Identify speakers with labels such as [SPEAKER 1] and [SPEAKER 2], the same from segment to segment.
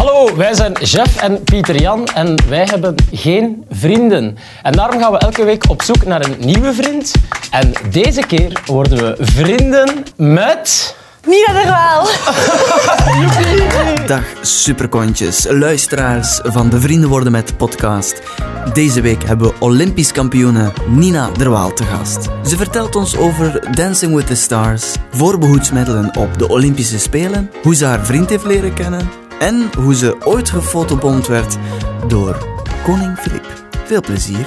[SPEAKER 1] Hallo, wij zijn Jeff en Pieter Jan en wij hebben geen vrienden. En daarom gaan we elke week op zoek naar een nieuwe vriend. En deze keer worden we vrienden met...
[SPEAKER 2] Niet dat er wel.
[SPEAKER 3] Dag superkontjes, luisteraars van de Vrienden Worden Met podcast. Deze week hebben we Olympisch kampioene Nina Derwaal te gast. Ze vertelt ons over Dancing with the Stars, voorbehoedsmiddelen op de Olympische Spelen, hoe ze haar vriend heeft leren kennen en hoe ze ooit gefotobomd werd door koning Filip. Veel plezier.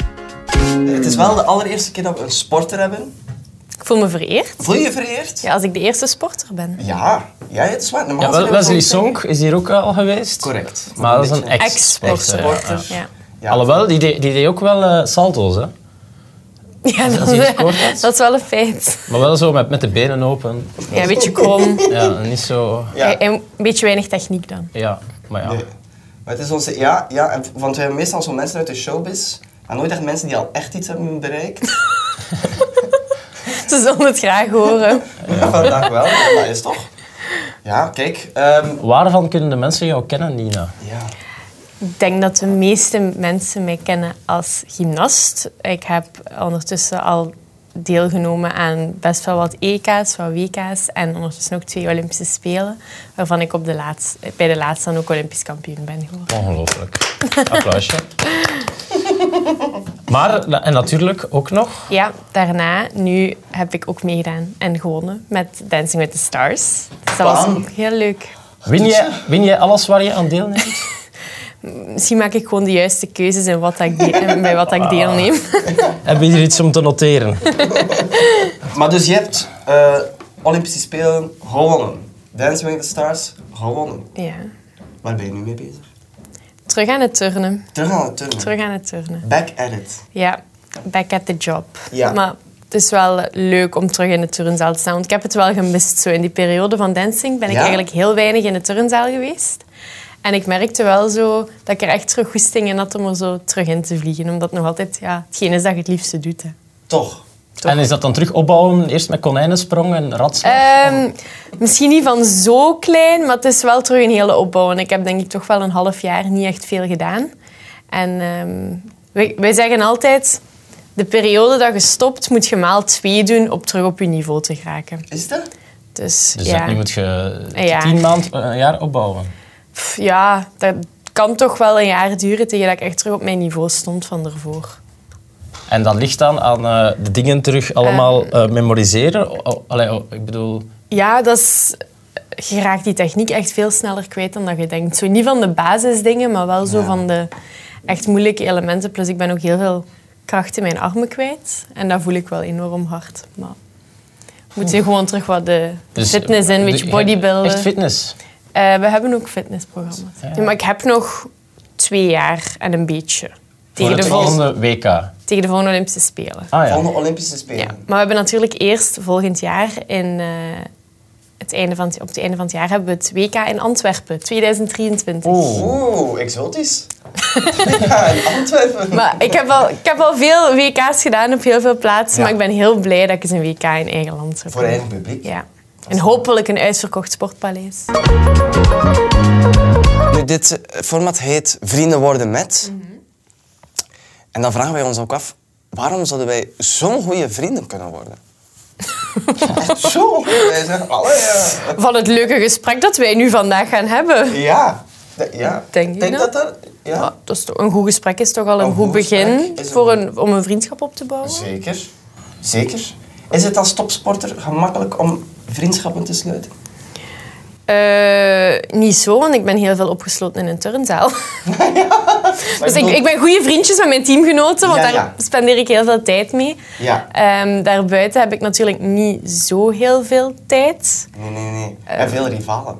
[SPEAKER 4] Het is wel de allereerste keer dat we een sporter hebben.
[SPEAKER 2] Ik voel me vereerd.
[SPEAKER 4] Voel je je vereerd?
[SPEAKER 2] Ja, als ik de eerste sporter ben.
[SPEAKER 4] Ja, ja het is waar. Normaal
[SPEAKER 1] Ja,
[SPEAKER 4] zijn
[SPEAKER 1] wel-
[SPEAKER 4] we
[SPEAKER 1] Wesley
[SPEAKER 4] gewoon-
[SPEAKER 1] Sonk is hier ook al geweest.
[SPEAKER 4] Correct.
[SPEAKER 1] Maar dat is een
[SPEAKER 4] beetje-
[SPEAKER 1] ex-sporter.
[SPEAKER 4] Ex-sporter.
[SPEAKER 1] ja, ja.
[SPEAKER 2] Ja,
[SPEAKER 4] Ja.
[SPEAKER 1] Alhoewel, die deed, die deed ook wel eh, salto's, hè.
[SPEAKER 2] ja dat,
[SPEAKER 1] Als je gescoord had.
[SPEAKER 2] dat is wel een feit.
[SPEAKER 1] Maar wel zo met, met de benen open.
[SPEAKER 2] Ja, een beetje krom.
[SPEAKER 1] Ja, niet zo...
[SPEAKER 4] Ja.
[SPEAKER 2] En- en Een beetje weinig techniek dan.
[SPEAKER 1] Ja, maar ja.
[SPEAKER 4] Nee. Maar het is onze... Ja, ja, en- want we hebben meestal zo mensen uit de showbiz. Maar nooit echt mensen die al echt iets hebben bereikt.
[SPEAKER 2] Ze zullen het graag horen.
[SPEAKER 4] Vandaag wel, maar dat is toch? Ja, kijk. ehm,
[SPEAKER 1] Waarvan kunnen de mensen jou kennen, Nina?
[SPEAKER 4] ja.
[SPEAKER 2] Ik denk dat de meeste mensen mij kennen als gymnast. Ik heb ondertussen al deelgenomen aan best wel wat EK's, wat WK's en ondertussen ook twee Olympische Spelen, waarvan ik op de laatste, bij de laatste dan ook Olympisch kampioen ben geworden.
[SPEAKER 1] Ongelooflijk. Applausje. Maar, na- en natuurlijk ook nog,
[SPEAKER 2] Ja, daarna, nu heb ik ook meegedaan en gewonnen met Dancing with the Stars. Dus dat was
[SPEAKER 4] Bam.
[SPEAKER 2] ook heel leuk.
[SPEAKER 1] win jij, win jij alles waar je aan deelneemt?
[SPEAKER 2] Misschien maak ik gewoon de juiste keuzes in wat dat ik de- en bij wat dat ik deelneem.
[SPEAKER 1] Heb je hier iets om te noteren?
[SPEAKER 4] Maar dus je hebt eh, Olympische Spelen gewonnen. Dancing with the Stars gewonnen.
[SPEAKER 2] Ja.
[SPEAKER 4] Waar ben je nu mee bezig?
[SPEAKER 2] Terug aan het turnen.
[SPEAKER 4] Terug aan het turnen.
[SPEAKER 2] Terug aan het turnen.
[SPEAKER 4] Back at it.
[SPEAKER 2] Ja, back at the job.
[SPEAKER 4] Ja.
[SPEAKER 2] Maar het is wel leuk om terug in de turnzaal te staan. Want ik heb het wel gemist. Zo in die periode van dancing ben ik
[SPEAKER 4] Ja?
[SPEAKER 2] eigenlijk heel weinig in de turnzaal geweest. En ik merkte wel zo dat ik er echt terug goesting in had om er zo terug in te vliegen. Omdat het nog altijd ja, hetgeen is dat je het liefste doet. Hè.
[SPEAKER 4] Toch.
[SPEAKER 1] En is dat dan terug opbouwen, eerst met konijnensprong en ratslag?
[SPEAKER 2] Ehm, misschien niet van zo klein, maar het is wel terug een hele opbouw. En ik heb denk ik toch wel een half jaar niet echt veel gedaan. En ehm, wij, wij zeggen altijd, de periode dat je stopt, moet je maal twee doen om terug op je niveau te geraken.
[SPEAKER 4] Is dat?
[SPEAKER 2] Dus,
[SPEAKER 1] dus
[SPEAKER 2] ja,
[SPEAKER 1] dat nu moet je
[SPEAKER 2] Ja.
[SPEAKER 1] tien maanden, eh, een jaar opbouwen.
[SPEAKER 2] Pff, ja, dat kan toch wel een jaar duren tegen dat ik echt terug op mijn niveau stond van daarvoor.
[SPEAKER 1] En dat ligt dan aan eh, de dingen terug allemaal eh, memoriseren? O- o- allee, o- ik bedoel,
[SPEAKER 2] Ja, dat is... Je raakt die techniek echt veel sneller kwijt dan dat je denkt. Zo niet van de basisdingen, maar wel zo van de echt moeilijke elementen. Plus ik ben ook heel veel kracht in mijn armen kwijt. En dat voel ik wel enorm hard. Maar moet je gewoon terug wat de
[SPEAKER 1] dus-
[SPEAKER 2] fitness in, een
[SPEAKER 1] de-
[SPEAKER 2] beetje
[SPEAKER 1] je-
[SPEAKER 2] bodybuilden.
[SPEAKER 1] Echt fitness?
[SPEAKER 2] Eh, we hebben ook fitnessprogramma's.
[SPEAKER 1] Ja.
[SPEAKER 2] Ja, maar ik heb nog twee jaar en een beetje. Tegen
[SPEAKER 1] voor
[SPEAKER 2] de,
[SPEAKER 1] het
[SPEAKER 2] vol-
[SPEAKER 1] volgende WK. Ah
[SPEAKER 2] tegen de volgende Olympische Spelen.
[SPEAKER 1] ja.
[SPEAKER 4] Van de Olympische Spelen.
[SPEAKER 2] Ja, maar we hebben natuurlijk eerst volgend jaar in, eh, het einde van, het- op het einde van het jaar hebben we het WK in Antwerpen 2023.
[SPEAKER 4] Oh. Oeh, exotisch. ja, in Antwerpen.
[SPEAKER 2] Maar ik heb, al, ik heb al veel WK's gedaan op heel veel plaatsen, maar ik ben heel blij dat ik eens een WK in eigen land heb.
[SPEAKER 4] Voor eigen publiek.
[SPEAKER 2] Ja. En hopelijk een uitverkocht sportpaleis.
[SPEAKER 4] Nu, dit eh, format heet Vrienden worden met.
[SPEAKER 2] Mhm.
[SPEAKER 4] En dan vragen wij ons ook af, waarom zouden wij zo'n goede vrienden kunnen worden? Echt zo goed. Wij zeggen, alle ja.
[SPEAKER 2] Van het leuke gesprek dat wij nu vandaag gaan hebben.
[SPEAKER 4] Ja. De- ja.
[SPEAKER 2] Denk je dat?
[SPEAKER 4] dat dat?
[SPEAKER 2] Ja,
[SPEAKER 4] Ja.
[SPEAKER 2] dat is toch- een goed gesprek is toch al een,
[SPEAKER 4] Een
[SPEAKER 2] goed,
[SPEAKER 4] goed
[SPEAKER 2] begin
[SPEAKER 4] gesprek is een
[SPEAKER 2] voor
[SPEAKER 4] goed-
[SPEAKER 2] een, om een vriendschap op te bouwen.
[SPEAKER 4] Zeker. Zeker. Is het als topsporter gemakkelijk om vriendschappen te sluiten?
[SPEAKER 2] Eh, niet zo, want ik ben heel veel opgesloten in een turnzaal. dus ik, ik ben goede vriendjes met mijn teamgenoten, want
[SPEAKER 4] Ja,
[SPEAKER 2] daar
[SPEAKER 4] ja.
[SPEAKER 2] spendeer ik heel veel tijd mee.
[SPEAKER 4] Ja.
[SPEAKER 2] Ehm, daarbuiten heb ik natuurlijk niet zo heel veel tijd.
[SPEAKER 4] Nee, nee, nee.
[SPEAKER 2] Eh.
[SPEAKER 4] En veel rivalen.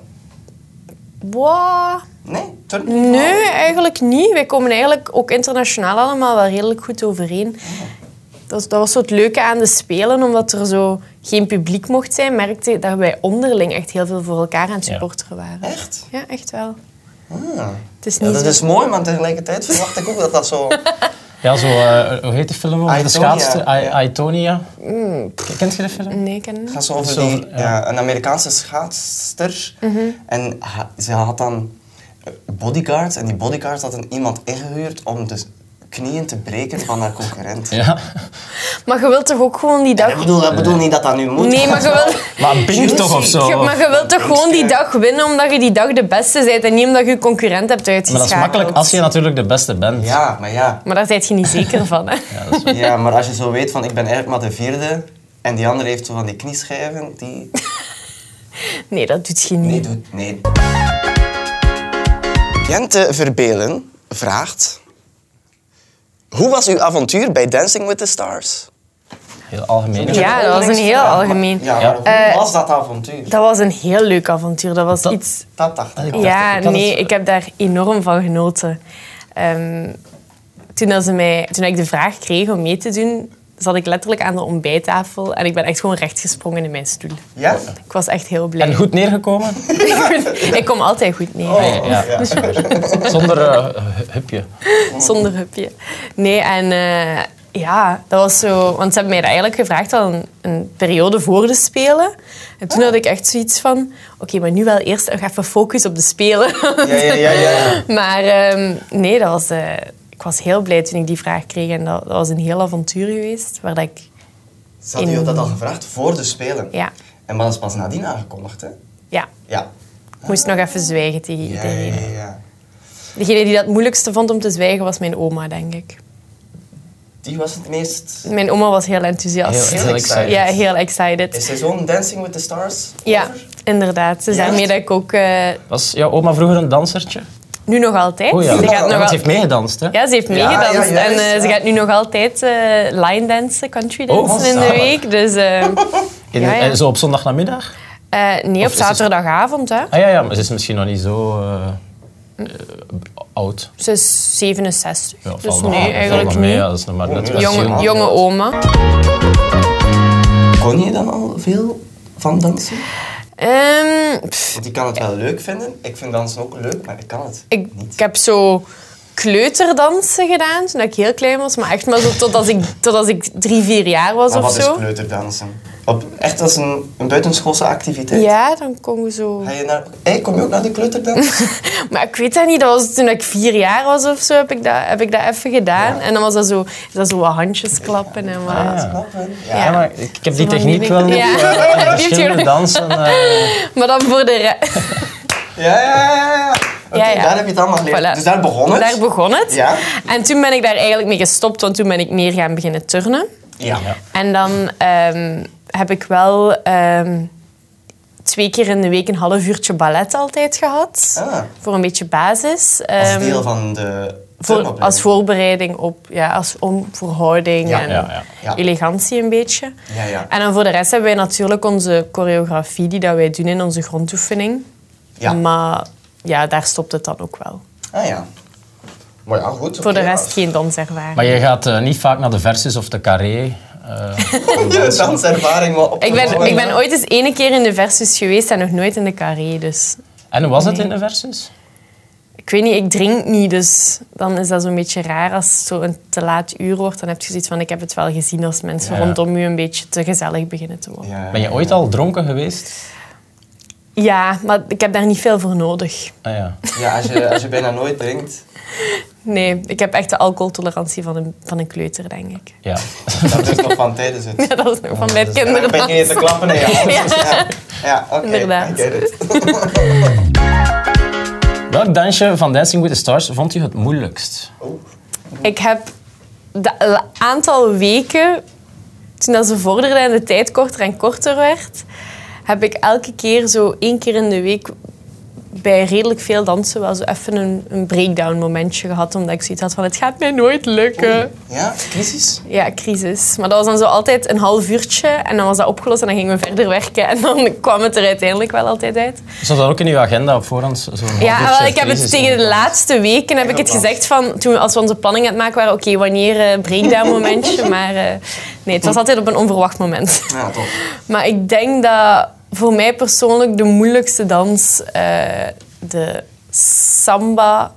[SPEAKER 2] Wow.
[SPEAKER 4] Nee, toch niet?
[SPEAKER 2] Nee, eigenlijk niet. Wij komen eigenlijk ook internationaal allemaal wel redelijk goed overeen. Dat, was- dat was zo het leuke aan de Spelen, omdat er zo geen publiek mocht zijn, merkte ik dat wij onderling echt heel veel voor elkaar aan het
[SPEAKER 1] Ja.
[SPEAKER 2] supporteren waren.
[SPEAKER 4] Echt?
[SPEAKER 2] Ja, echt wel.
[SPEAKER 4] Ah.
[SPEAKER 2] Het is
[SPEAKER 4] Ja,
[SPEAKER 2] niet
[SPEAKER 4] dat
[SPEAKER 2] zo...
[SPEAKER 4] is mooi, maar tegelijkertijd verwacht ik ook dat dat zo...
[SPEAKER 1] Ja, zo, eh, hoe heet de film over de
[SPEAKER 4] Aitonia,
[SPEAKER 1] schaatsen?
[SPEAKER 4] ja.
[SPEAKER 1] Aitonia.
[SPEAKER 2] Mm.
[SPEAKER 1] Kent je de film?
[SPEAKER 2] Nee, ik ken het niet.
[SPEAKER 4] Het gaat zo over
[SPEAKER 1] Zo,
[SPEAKER 4] die,
[SPEAKER 1] ja.
[SPEAKER 4] ja, een Amerikaanse schaatster. En ha- ze had dan bodyguard. En die bodyguard had een iemand ingehuurd om de knieën te breken van haar concurrent.
[SPEAKER 1] Ja.
[SPEAKER 2] Maar je wilt toch ook gewoon die
[SPEAKER 4] En Ik
[SPEAKER 2] dag...
[SPEAKER 4] bedoel, ik bedoel niet dat dat nu moet.
[SPEAKER 2] Nee, maar je wilt...
[SPEAKER 1] Maar Bing toch of zo?
[SPEAKER 2] Je- maar je wilt toch gewoon die dag winnen omdat je die dag de beste bent en niet omdat je je concurrent hebt
[SPEAKER 1] Maar
[SPEAKER 2] uitgeschakeld.
[SPEAKER 1] dat is makkelijk als je natuurlijk de beste bent.
[SPEAKER 4] Ja, maar ja.
[SPEAKER 2] Maar daar ben je niet zeker van, hè?
[SPEAKER 1] Ja, dat is waar.
[SPEAKER 4] Ja, maar als je zo weet van ik ben eigenlijk maar de vierde en die andere heeft zo van die knieschijven, die...
[SPEAKER 2] Nee, dat doet je niet.
[SPEAKER 4] Nee, doet nee. Jente Verbelen vraagt... Hoe was uw avontuur bij Dancing with the Stars?
[SPEAKER 1] Heel algemeen.
[SPEAKER 2] Ja, dat was een heel algemeen.
[SPEAKER 4] Ja,
[SPEAKER 1] Ja.
[SPEAKER 4] maar hoe
[SPEAKER 2] Eh,
[SPEAKER 4] was dat avontuur?
[SPEAKER 2] Dat was een heel leuk avontuur. Dat was iets...
[SPEAKER 4] Dat dacht ik.
[SPEAKER 2] Ja,
[SPEAKER 1] ik had
[SPEAKER 2] nee,
[SPEAKER 1] het-
[SPEAKER 2] ik heb daar enorm van genoten. Ehm, toen, dat ze mij, toen ik de vraag kreeg om mee te doen, zat ik letterlijk aan de ontbijttafel en ik ben echt gewoon rechtgesprongen in mijn stoel.
[SPEAKER 4] Ja?
[SPEAKER 2] Ik was echt heel blij.
[SPEAKER 1] En goed neergekomen? Ah,
[SPEAKER 2] ik kom altijd goed neer,
[SPEAKER 1] Ja, ja, super. Zonder eh, hupje.
[SPEAKER 2] zonder hupje. Nee, en eh, ja, dat was zo... Want ze hebben mij dat eigenlijk gevraagd al een, een periode voor de Spelen. En
[SPEAKER 4] Oh.
[SPEAKER 2] toen had ik echt zoiets van... Oké, maar nu wel eerst nog even focus op de Spelen.
[SPEAKER 4] Ja, ja, ja. ja.
[SPEAKER 2] Maar ehm, nee, dat was, eh, ik was heel blij toen ik die vraag kreeg. En dat, dat was een heel avontuur geweest. Waar dat ik,
[SPEAKER 4] Ze hadden
[SPEAKER 2] In-
[SPEAKER 4] jou dat al gevraagd voor de Spelen.
[SPEAKER 2] ja,
[SPEAKER 4] En maar dat is pas nadien aangekondigd, hè?
[SPEAKER 2] ja,
[SPEAKER 4] Ja.
[SPEAKER 2] ik moest nog even zwijgen tegen
[SPEAKER 4] Ja,
[SPEAKER 2] iedereen.
[SPEAKER 4] ja, ja, ja.
[SPEAKER 2] Degene die dat het moeilijkste vond om te zwijgen was mijn oma, denk ik.
[SPEAKER 4] Die was het meest...
[SPEAKER 2] Mijn oma was heel enthousiast.
[SPEAKER 1] Heel- heel excited.
[SPEAKER 2] Ja, heel
[SPEAKER 4] Is
[SPEAKER 2] excited.
[SPEAKER 4] zij zo'n Dancing with the Stars?
[SPEAKER 2] Ja,
[SPEAKER 4] over?
[SPEAKER 2] inderdaad. Dus
[SPEAKER 4] Ja?
[SPEAKER 2] daarmee dat ik ook... eh,
[SPEAKER 1] Was jouw oma vroeger een dansertje?
[SPEAKER 2] nu nog altijd.
[SPEAKER 1] Oh ja,
[SPEAKER 2] Ze
[SPEAKER 1] Ja,
[SPEAKER 2] gaat nog
[SPEAKER 1] want
[SPEAKER 2] al-
[SPEAKER 1] ze heeft meegedanst, hè?
[SPEAKER 2] Ja, ze heeft meegedanst.
[SPEAKER 4] ja,
[SPEAKER 2] en
[SPEAKER 4] juist,
[SPEAKER 2] eh, ze
[SPEAKER 4] ja.
[SPEAKER 2] gaat nu nog altijd eh, line dansen, country dansen
[SPEAKER 1] Oh,
[SPEAKER 2] in de
[SPEAKER 1] zalig.
[SPEAKER 2] week. Dus eh,
[SPEAKER 1] In,
[SPEAKER 2] ja, ja.
[SPEAKER 1] eh, Zo op zondagnamiddag?
[SPEAKER 2] eh, nee, op
[SPEAKER 1] is het-
[SPEAKER 2] zaterdagavond, hè.
[SPEAKER 1] Ah ja, ja, maar ze is misschien nog niet zo eh, eh, oud.
[SPEAKER 2] Ze is 67,
[SPEAKER 1] Ja,
[SPEAKER 2] dus
[SPEAKER 1] valt nog-
[SPEAKER 2] nee,
[SPEAKER 1] valt nog
[SPEAKER 2] eigenlijk
[SPEAKER 1] mee,
[SPEAKER 2] niet.
[SPEAKER 1] Ja, dat is nog maar net wat
[SPEAKER 4] Jongen-
[SPEAKER 1] zien.
[SPEAKER 2] Jonge, jonge oma.
[SPEAKER 4] Kon je dan al veel van dansen?
[SPEAKER 2] Ehm, pff,
[SPEAKER 4] Want ik kan het wel leuk vinden. Ik vind dansen ook leuk, maar ik kan het
[SPEAKER 2] ik,
[SPEAKER 4] niet.
[SPEAKER 2] ik heb zo kleuterdansen gedaan toen ik heel klein was. Maar echt maar zo tot als ik, tot als ik drie, vier jaar was
[SPEAKER 1] Ah,
[SPEAKER 4] Maar
[SPEAKER 2] of
[SPEAKER 4] wat is
[SPEAKER 2] zo.
[SPEAKER 4] kleuterdansen? Op, echt als een, een buitenschoolse activiteit?
[SPEAKER 2] Ja, dan kon je zo...
[SPEAKER 4] Ga je naar... Hey, kom je ook naar de kleuterdans?
[SPEAKER 2] Maar ik weet dat niet, dat was toen ik vier jaar was of zo, heb ik dat, heb ik dat even gedaan. En dan was dat zo, is dat zo wat handjes klappen en wat...
[SPEAKER 1] ja.
[SPEAKER 4] Klappen. Ah, Ja.
[SPEAKER 1] Ja, maar ik heb die
[SPEAKER 2] Zo van
[SPEAKER 1] techniek
[SPEAKER 2] die
[SPEAKER 1] wel
[SPEAKER 2] dingen.
[SPEAKER 1] niet.
[SPEAKER 2] Ja.
[SPEAKER 1] eh,
[SPEAKER 2] Die heeft
[SPEAKER 1] verschillende
[SPEAKER 2] je-
[SPEAKER 1] dansen. eh,
[SPEAKER 2] Maar dan voor de... re-
[SPEAKER 4] Ja, ja, ja, ja. Oké,
[SPEAKER 2] Ja, ja.
[SPEAKER 4] daar heb je het allemaal geleerd.
[SPEAKER 2] Voilà.
[SPEAKER 4] Dus daar begon het?
[SPEAKER 2] Daar begon het.
[SPEAKER 4] Ja.
[SPEAKER 2] En toen ben ik daar eigenlijk mee gestopt, want toen ben ik meer gaan beginnen turnen.
[SPEAKER 4] Ja.
[SPEAKER 1] Ja.
[SPEAKER 2] En dan ehm, heb ik wel ehm, twee keer in de week een half uurtje ballet altijd gehad.
[SPEAKER 4] Ah.
[SPEAKER 2] Voor een beetje basis.
[SPEAKER 4] Als
[SPEAKER 2] Ehm,
[SPEAKER 4] deel van de
[SPEAKER 2] voor,
[SPEAKER 4] turnopleiding.
[SPEAKER 2] als voorbereiding op, ja, als, om voor houding
[SPEAKER 4] Ja,
[SPEAKER 2] en
[SPEAKER 1] ja, ja.
[SPEAKER 4] Ja.
[SPEAKER 2] elegantie een beetje.
[SPEAKER 4] Ja, ja.
[SPEAKER 2] En dan voor de rest hebben wij natuurlijk onze choreografie die dat wij doen in onze grondoefening.
[SPEAKER 4] Ja.
[SPEAKER 2] Maar ja, daar stopt het dan ook wel.
[SPEAKER 4] Ah ja. Maar ja, goed.
[SPEAKER 2] Voor de
[SPEAKER 4] oké,
[SPEAKER 2] rest geen danservaring.
[SPEAKER 1] maar je gaat eh, niet vaak naar de versus of de carré. eh.
[SPEAKER 4] ja. De danservaring wel op
[SPEAKER 2] Ik ben,
[SPEAKER 4] opgebouwd.
[SPEAKER 2] ik ben ooit eens ene keer in de versus geweest en nog nooit in de carré. Dus
[SPEAKER 1] En hoe was het
[SPEAKER 2] Nee.
[SPEAKER 1] in de versus?
[SPEAKER 2] ik weet niet, ik drink niet. Dus dan is dat zo'n beetje raar als het zo een te laat uur wordt. Dan heb je zoiets van, ik heb het wel gezien als mensen
[SPEAKER 1] Ja.
[SPEAKER 2] rondom u een beetje te gezellig beginnen te worden. Ja.
[SPEAKER 4] Ja.
[SPEAKER 1] Ben je ooit al dronken geweest?
[SPEAKER 2] maar ik heb daar niet veel voor nodig.
[SPEAKER 1] Ah ja.
[SPEAKER 4] Ja, als je, als je bijna nooit drinkt.
[SPEAKER 2] Nee, ik heb echt de alcoholtolerantie van een, van een kleuter, denk ik.
[SPEAKER 1] ja.
[SPEAKER 4] Dat is nog van tijdens het.
[SPEAKER 2] Ja, dat is nog van mijn
[SPEAKER 4] Ja, dan
[SPEAKER 2] kinderen.
[SPEAKER 4] ben je niet te klappen in je handen. Ja, ja oké.
[SPEAKER 2] Inderdaad.
[SPEAKER 4] I get it.
[SPEAKER 1] Welk dansje van Dancing with the Stars vond je het moeilijkst?
[SPEAKER 4] Oeh.
[SPEAKER 2] Ik heb de een aantal weken, toen dat ze vorderde en de tijd korter en korter werd, heb ik elke keer zo één keer in de week bij redelijk veel dansen wel zo even een, een breakdown momentje gehad. Omdat ik zoiets had van, het gaat mij nooit lukken.
[SPEAKER 4] Ja, crisis.
[SPEAKER 2] Ja, crisis. Maar dat was dan zo altijd een half uurtje en dan was dat opgelost en dan gingen we verder werken. En dan kwam het er uiteindelijk wel altijd uit.
[SPEAKER 1] Zat dat ook in uw agenda op voorhand? Zo'n
[SPEAKER 2] Ja,
[SPEAKER 1] half
[SPEAKER 2] wel,
[SPEAKER 1] uurtje
[SPEAKER 2] ik heb het
[SPEAKER 1] crisis?
[SPEAKER 2] tegen de laatste weken heb ik het
[SPEAKER 4] Ingepland.
[SPEAKER 2] gezegd van toen we- als we onze planning aan het maken waren, oké, wanneer eh, breakdown momentje, maar eh, nee, het was
[SPEAKER 1] Hm.
[SPEAKER 2] altijd op een onverwacht moment.
[SPEAKER 4] Ja, toch.
[SPEAKER 2] Maar ik denk dat voor mij persoonlijk de moeilijkste dans eh, de samba,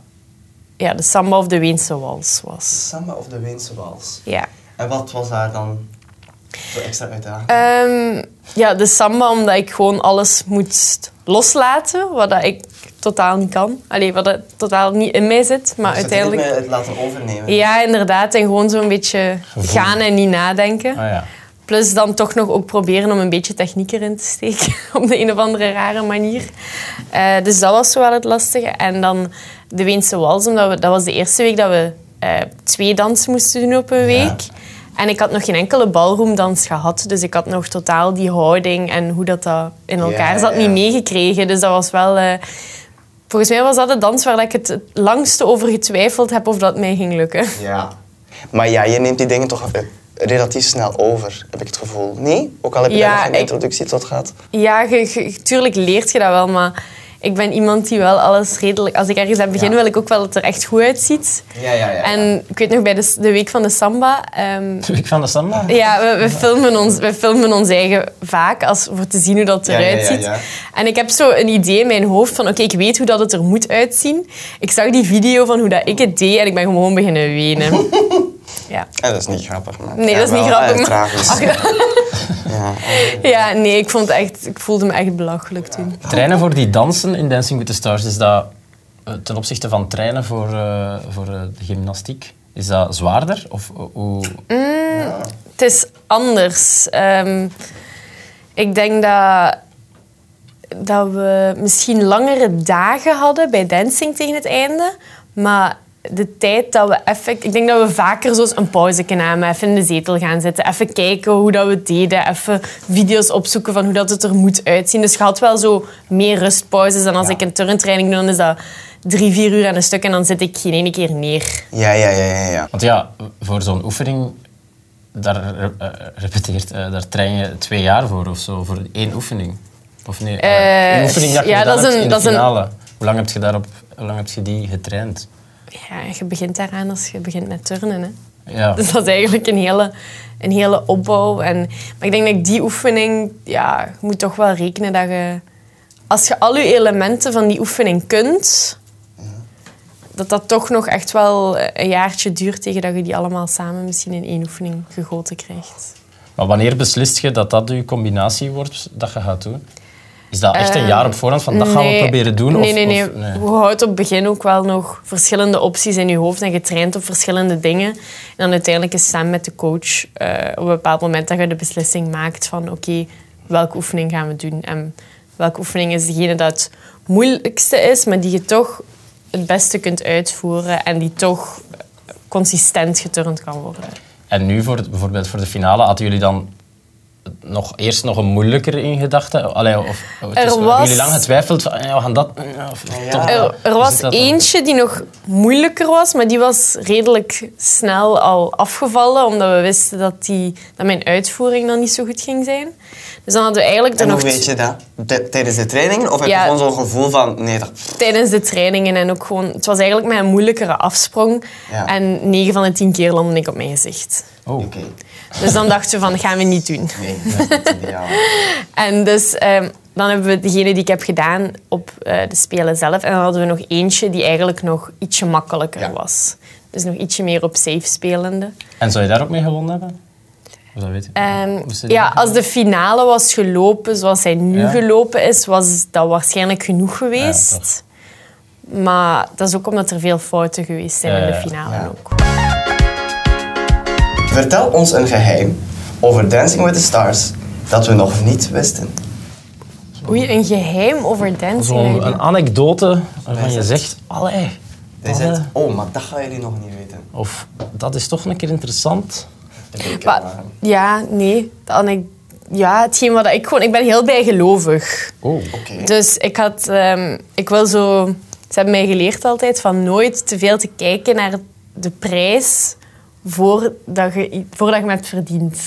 [SPEAKER 2] ja, de samba of de Weense wals was.
[SPEAKER 4] Samba of de Weense Wals.
[SPEAKER 2] Ja.
[SPEAKER 4] En wat was daar dan
[SPEAKER 2] Eh,
[SPEAKER 4] zo extra uitdagend?
[SPEAKER 2] Ehm, ja, de samba omdat ik gewoon alles moest loslaten, wat dat ik totaal niet kan. Allee, wat dat totaal niet in mij zit, maar
[SPEAKER 4] Dus dat
[SPEAKER 2] uiteindelijk...
[SPEAKER 4] ritme het laten overnemen.
[SPEAKER 2] Ja, inderdaad. En gewoon zo'n beetje gaan en niet nadenken.
[SPEAKER 1] Ah, ja.
[SPEAKER 2] Plus dan toch nog ook proberen om een beetje techniek erin te steken. Op de een of andere rare manier. Eh, dus dat was zo wel het lastige. En dan de Weense Wals. Omdat we, dat was de eerste week dat we eh, twee dansen moesten doen op een week. En ik had nog geen enkele balroomdans gehad. Dus ik had nog totaal die houding en hoe dat, dat in elkaar
[SPEAKER 4] Ja,
[SPEAKER 2] zat niet
[SPEAKER 4] ja.
[SPEAKER 2] meegekregen. Dus dat was wel... eh, volgens mij was dat de dans waar ik het het langste over getwijfeld heb of dat mij ging lukken.
[SPEAKER 4] Ja. Maar ja, je neemt die dingen toch eh, relatief snel over, heb ik het gevoel. Nee? Ook al heb je
[SPEAKER 2] Ja,
[SPEAKER 4] daar nog geen
[SPEAKER 2] ik-
[SPEAKER 4] introductie tot gehad.
[SPEAKER 2] Ja, ge- ge- tuurlijk leert je dat wel, maar ik ben iemand die wel alles redelijk... Als ik ergens aan begin,
[SPEAKER 4] Ja.
[SPEAKER 2] wil ik ook wel dat het er echt goed uitziet.
[SPEAKER 4] Ja, ja, ja.
[SPEAKER 2] En ik weet nog, bij de, s- de week van de samba... ehm,
[SPEAKER 1] Ik van de samba.
[SPEAKER 2] ja, we, we, filmen ons, we filmen ons eigen vaak als, voor te zien hoe dat
[SPEAKER 4] Ja, ja, ja,
[SPEAKER 2] eruit ziet.
[SPEAKER 4] ja.
[SPEAKER 2] En ik heb zo een idee in mijn hoofd van... Oké, ik weet hoe dat het er moet uitzien. Ik zag die video van hoe dat ik het deed en ik ben gewoon beginnen wenen. ja.
[SPEAKER 4] Ja, dat is niet grappig, man.
[SPEAKER 2] Nee,
[SPEAKER 4] Ja,
[SPEAKER 2] dat is niet
[SPEAKER 4] wel,
[SPEAKER 2] grappig,
[SPEAKER 4] eh,
[SPEAKER 2] maar-
[SPEAKER 4] tragisch. ja.
[SPEAKER 2] ja, nee, ik, vond echt, ik voelde me echt belachelijk toen.
[SPEAKER 1] Trainen voor die dansen in Dancing with the Stars, is dat eh, ten opzichte van trainen voor, eh, voor eh, de gymnastiek, is dat zwaarder? Of eh, hoe...
[SPEAKER 2] Het is anders. Ehm, ik denk dat, dat we misschien langere dagen hadden bij dancing tegen het einde. Maar de tijd dat we even... Ik denk dat we vaker zo eens een pauze namen. Even in de zetel gaan zitten. Even kijken hoe dat we het deden. Even video's opzoeken van hoe dat het er moet uitzien. Dus je had wel zo meer rustpauzes. En als ik een turntraining doe, dan is dat drie, vier uur aan een stuk. En dan zit ik geen ene keer neer.
[SPEAKER 4] Ja, ja, ja, ja, ja.
[SPEAKER 1] Want ja, voor zo'n oefening, daar re- eh, repeteert, eh, daar train je twee jaar voor of zo, voor één oefening. Of nee, eh, één oefening dat je
[SPEAKER 2] ja,
[SPEAKER 1] gedaan
[SPEAKER 2] dat is
[SPEAKER 1] hebt
[SPEAKER 2] een-
[SPEAKER 1] in
[SPEAKER 2] dat
[SPEAKER 1] de
[SPEAKER 2] is een-
[SPEAKER 1] finale. Hoe, lang heb je daarop, hoe lang heb je die getraind?
[SPEAKER 2] Ja, je begint daaraan als je begint met turnen, hè.
[SPEAKER 1] Ja.
[SPEAKER 2] Dus dat is eigenlijk een hele, een hele opbouw. En, maar ik denk dat ik die oefening, ja, je moet toch wel rekenen dat je, als je al je elementen van die oefening kunt, dat dat toch nog echt wel een jaartje duurt tegen dat je die allemaal samen misschien in één oefening gegoten krijgt.
[SPEAKER 1] Maar wanneer beslist je dat dat je combinatie wordt dat je gaat doen? Is dat echt een
[SPEAKER 2] Ehm,
[SPEAKER 1] jaar op voorhand van dat gaan we
[SPEAKER 2] Nee.
[SPEAKER 1] proberen doen?
[SPEAKER 2] Nee,
[SPEAKER 1] of,
[SPEAKER 2] nee, nee.
[SPEAKER 1] Of, nee.
[SPEAKER 2] Je houdt op het begin ook wel nog verschillende opties in je hoofd en je traint op verschillende dingen. En dan uiteindelijk is samen met de coach eh, op een bepaald moment dat je de beslissing maakt van oké, welke oefening gaan we doen? En welke oefening is degene dat het moeilijkste is, maar die je toch het beste kunt uitvoeren en die toch consistent geturnd kan worden.
[SPEAKER 1] En nu voor, het- bijvoorbeeld voor de finale, hadden jullie dan nog, eerst nog een moeilijker in gedachten? Allee, of, of,
[SPEAKER 2] Er
[SPEAKER 1] het is-
[SPEAKER 2] was-
[SPEAKER 1] Hebben jullie lang getwijfeld van, eh, we gaan dat... eh, Of, toch dat?
[SPEAKER 2] Er, er
[SPEAKER 1] Hoe
[SPEAKER 2] was
[SPEAKER 1] zit dat dan?
[SPEAKER 2] eentje die nog moeilijker was, maar die was redelijk snel al afgevallen, omdat we wisten dat, die, dat mijn uitvoering dan niet zo goed ging zijn. Dus dan hadden we eigenlijk er
[SPEAKER 4] En hoe
[SPEAKER 2] nog
[SPEAKER 4] weet je dat? T- tijdens de training? Of heb je
[SPEAKER 2] Ja.
[SPEAKER 4] gewoon zo'n gevoel van... Nee, dat...
[SPEAKER 2] tijdens de trainingen en ook gewoon... Het was eigenlijk mijn moeilijkere afsprong.
[SPEAKER 4] Ja.
[SPEAKER 2] En 9 van de 10 keer landde ik op mijn gezicht.
[SPEAKER 1] Oh.
[SPEAKER 4] Oké.
[SPEAKER 2] Dus dan dachten we van, dat gaan we niet doen.
[SPEAKER 4] Nee, dat is ideaal.
[SPEAKER 2] En dus ehm, dan hebben we degene die ik heb gedaan op eh, de Spelen zelf. En dan hadden we nog eentje die eigenlijk nog ietsje makkelijker
[SPEAKER 4] Ja.
[SPEAKER 2] was. Dus nog ietsje meer op safe spelende.
[SPEAKER 1] En zou je daar ook mee gewonnen hebben? Of dat weet ik
[SPEAKER 2] Ehm,
[SPEAKER 1] niet. Hoe zit
[SPEAKER 2] ja,
[SPEAKER 1] dat?
[SPEAKER 2] als de finale was gelopen zoals hij nu
[SPEAKER 1] Ja.
[SPEAKER 2] gelopen is, was dat waarschijnlijk genoeg
[SPEAKER 1] Ja,
[SPEAKER 2] geweest. maar dat is ook omdat er veel fouten geweest zijn
[SPEAKER 1] Ja,
[SPEAKER 2] in de
[SPEAKER 1] ja.
[SPEAKER 2] finale
[SPEAKER 4] Ja.
[SPEAKER 2] ook.
[SPEAKER 4] Vertel ons een geheim over Dancing with the Stars dat we nog niet wisten.
[SPEAKER 2] Oei, een geheim over dancing.
[SPEAKER 1] Zo'n een anekdote waarvan
[SPEAKER 4] Is
[SPEAKER 1] je
[SPEAKER 4] het-
[SPEAKER 1] zegt, allee,
[SPEAKER 4] Hij
[SPEAKER 1] dat,
[SPEAKER 4] zegt,
[SPEAKER 1] eh,
[SPEAKER 4] oh, maar dat gaan jullie nog niet weten.
[SPEAKER 1] of dat is toch een keer interessant.
[SPEAKER 4] Dat wil ik
[SPEAKER 2] Maar-
[SPEAKER 4] wel maken.
[SPEAKER 2] ja, nee. de anek- ja, hetgeen wat ik gewoon... Ik ben heel bijgelovig.
[SPEAKER 1] Oh.
[SPEAKER 4] Oké.
[SPEAKER 2] Dus ik had... ehm, ik wil zo... Ze hebben mij geleerd altijd van nooit te veel te kijken naar de prijs voordat je, i- voordat je het verdient.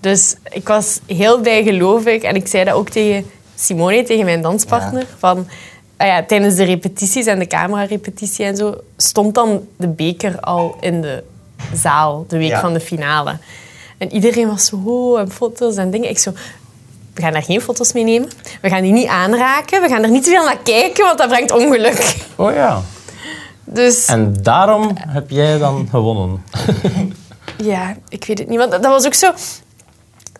[SPEAKER 2] Dus ik was heel bijgelovig en ik zei dat ook tegen Simone, tegen mijn danspartner.
[SPEAKER 4] Ja.
[SPEAKER 2] Van, ah ja, tijdens de repetities en de camerarepetitie en zo stond dan de beker al in de zaal de week
[SPEAKER 4] Ja.
[SPEAKER 2] van de finale. En iedereen was zo, oh, en foto's en dingen. Ik zo, we gaan daar geen foto's mee nemen. We gaan die niet aanraken. We gaan er niet te veel naar kijken, want dat brengt ongeluk.
[SPEAKER 1] oh ja.
[SPEAKER 2] Dus
[SPEAKER 1] En daarom heb jij dan gewonnen.
[SPEAKER 2] ja, ik weet het niet. Want dat was ook zo...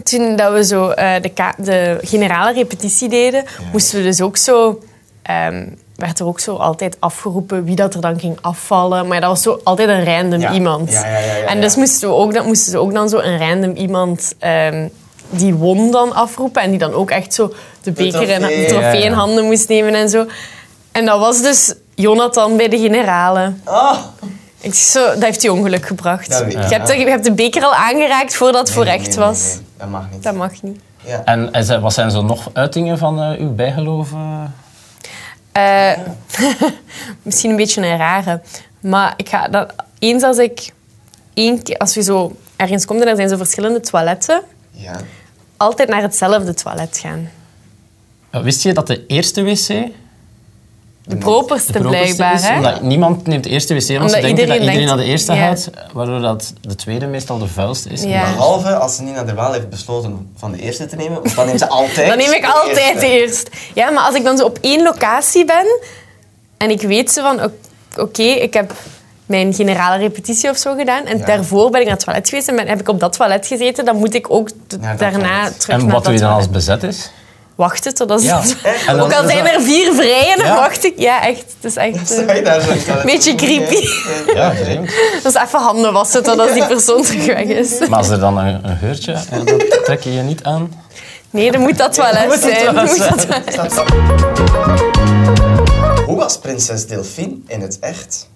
[SPEAKER 2] toen dat we zo eh, de, ka- de generale repetitie deden, moesten we dus ook zo... ehm, werd er ook zo altijd afgeroepen wie dat er dan ging afvallen. Maar dat was zo altijd een random
[SPEAKER 4] Ja.
[SPEAKER 2] iemand.
[SPEAKER 4] Ja, ja, ja, ja,
[SPEAKER 2] en dus
[SPEAKER 4] ja.
[SPEAKER 2] moesten, we ook, dan, moesten ze ook dan zo een random iemand... ehm, die won dan afroepen en die dan ook echt zo de beker en
[SPEAKER 4] trofee.
[SPEAKER 2] de trofee
[SPEAKER 1] Ja,
[SPEAKER 2] in
[SPEAKER 1] ja.
[SPEAKER 2] handen moest nemen en zo. En dat was dus Jonathan bij de generale.
[SPEAKER 4] Ah.
[SPEAKER 2] Ik zeg zo, dat heeft hij ongeluk gebracht.
[SPEAKER 4] Dat weet ik.
[SPEAKER 2] je, hebt de, je hebt de beker al aangeraakt voordat het voor
[SPEAKER 4] Nee,
[SPEAKER 2] echt
[SPEAKER 4] nee, nee,
[SPEAKER 2] was.
[SPEAKER 4] nee, Dat mag niet.
[SPEAKER 2] Dat mag niet.
[SPEAKER 4] Ja.
[SPEAKER 1] En, en zijn- wat zijn zo nog uitingen van eh, uw bijgeloof? eh?
[SPEAKER 2] Eh, misschien een beetje een rare. Maar ik ga dat, eens als ik één keer, als je zo ergens komt en er zijn zo verschillende toiletten,
[SPEAKER 4] ja.
[SPEAKER 2] altijd naar hetzelfde toilet gaan.
[SPEAKER 1] Wist je dat de eerste wc
[SPEAKER 2] De properste,
[SPEAKER 1] de properste
[SPEAKER 2] blijkbaar.
[SPEAKER 1] is?
[SPEAKER 2] hè?
[SPEAKER 1] Omdat niemand neemt de eerste wc, want ze
[SPEAKER 2] Omdat
[SPEAKER 1] denken
[SPEAKER 2] iedereen
[SPEAKER 1] dat iedereen
[SPEAKER 2] denkt-
[SPEAKER 1] naar de eerste
[SPEAKER 2] Ja.
[SPEAKER 1] gaat, waardoor dat de tweede meestal de vuilst is.
[SPEAKER 2] Ja.
[SPEAKER 4] Behalve als ze Nina de Waal heeft besloten van de eerste te nemen, want dan neemt ze altijd.
[SPEAKER 2] Dan neem ik
[SPEAKER 4] de
[SPEAKER 2] altijd
[SPEAKER 4] eerste.
[SPEAKER 2] de eerste. Ja, maar als ik dan zo op één locatie ben en ik weet ze van, ok- oké, ik heb mijn generale repetitie of zo gedaan en
[SPEAKER 4] Ja.
[SPEAKER 2] daarvoor ben ik naar het toilet geweest en ben- heb ik op dat toilet gezeten, dan moet ik ook de-
[SPEAKER 4] Naar dat
[SPEAKER 2] daarna
[SPEAKER 4] toilet.
[SPEAKER 2] terug
[SPEAKER 1] En
[SPEAKER 2] naar
[SPEAKER 1] wat
[SPEAKER 2] dat
[SPEAKER 1] doe je dan als
[SPEAKER 2] toilet.
[SPEAKER 1] het bezet is?
[SPEAKER 2] Wachten totdat ze...
[SPEAKER 1] Ja. En dan
[SPEAKER 2] Ook al
[SPEAKER 1] is
[SPEAKER 2] zijn
[SPEAKER 1] dat-
[SPEAKER 2] er vier vrijen, dan
[SPEAKER 1] Ja.
[SPEAKER 2] wacht ik... Ja, echt. Het is echt... eh,
[SPEAKER 4] Sta je daar zo in het toilet?
[SPEAKER 2] Beetje creepy.
[SPEAKER 4] Nee.
[SPEAKER 1] Ja, vreemd.
[SPEAKER 2] Dus even handen wassen totdat die persoon terug weg is.
[SPEAKER 1] Maar als er dan een, een geurtje, eh, dat trek je je niet aan.
[SPEAKER 2] Nee, dan moet dat toilet
[SPEAKER 1] moet dat
[SPEAKER 2] zijn. Dan
[SPEAKER 1] toilet
[SPEAKER 2] moet dat
[SPEAKER 1] zijn.
[SPEAKER 2] toilet-
[SPEAKER 4] Hoe was prinses Delphine in het echt?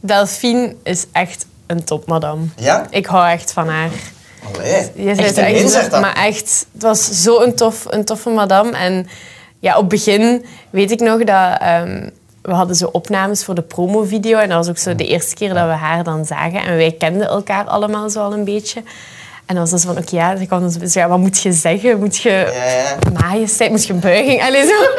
[SPEAKER 2] Delphine is echt een topmadam.
[SPEAKER 4] Ja?
[SPEAKER 2] Ik hou echt van haar.
[SPEAKER 4] Allee.
[SPEAKER 2] Je zei
[SPEAKER 4] Echt
[SPEAKER 2] het
[SPEAKER 4] een
[SPEAKER 2] echt,
[SPEAKER 4] inzicht dat.
[SPEAKER 2] Maar echt, het was zo'n tof, een toffe madame. En ja, op het begin weet ik nog dat... ehm, we hadden zo opnames voor de promovideo. En dat was ook zo de eerste keer dat we haar dan zagen. En wij kenden elkaar allemaal zo al een beetje. En dan was dat zo van, oké, ja, ze kwam zo- zo, ja, wat moet je zeggen? Moet je
[SPEAKER 4] Ja, ja.
[SPEAKER 2] majesteit, moet je een buiging? Allee, zo.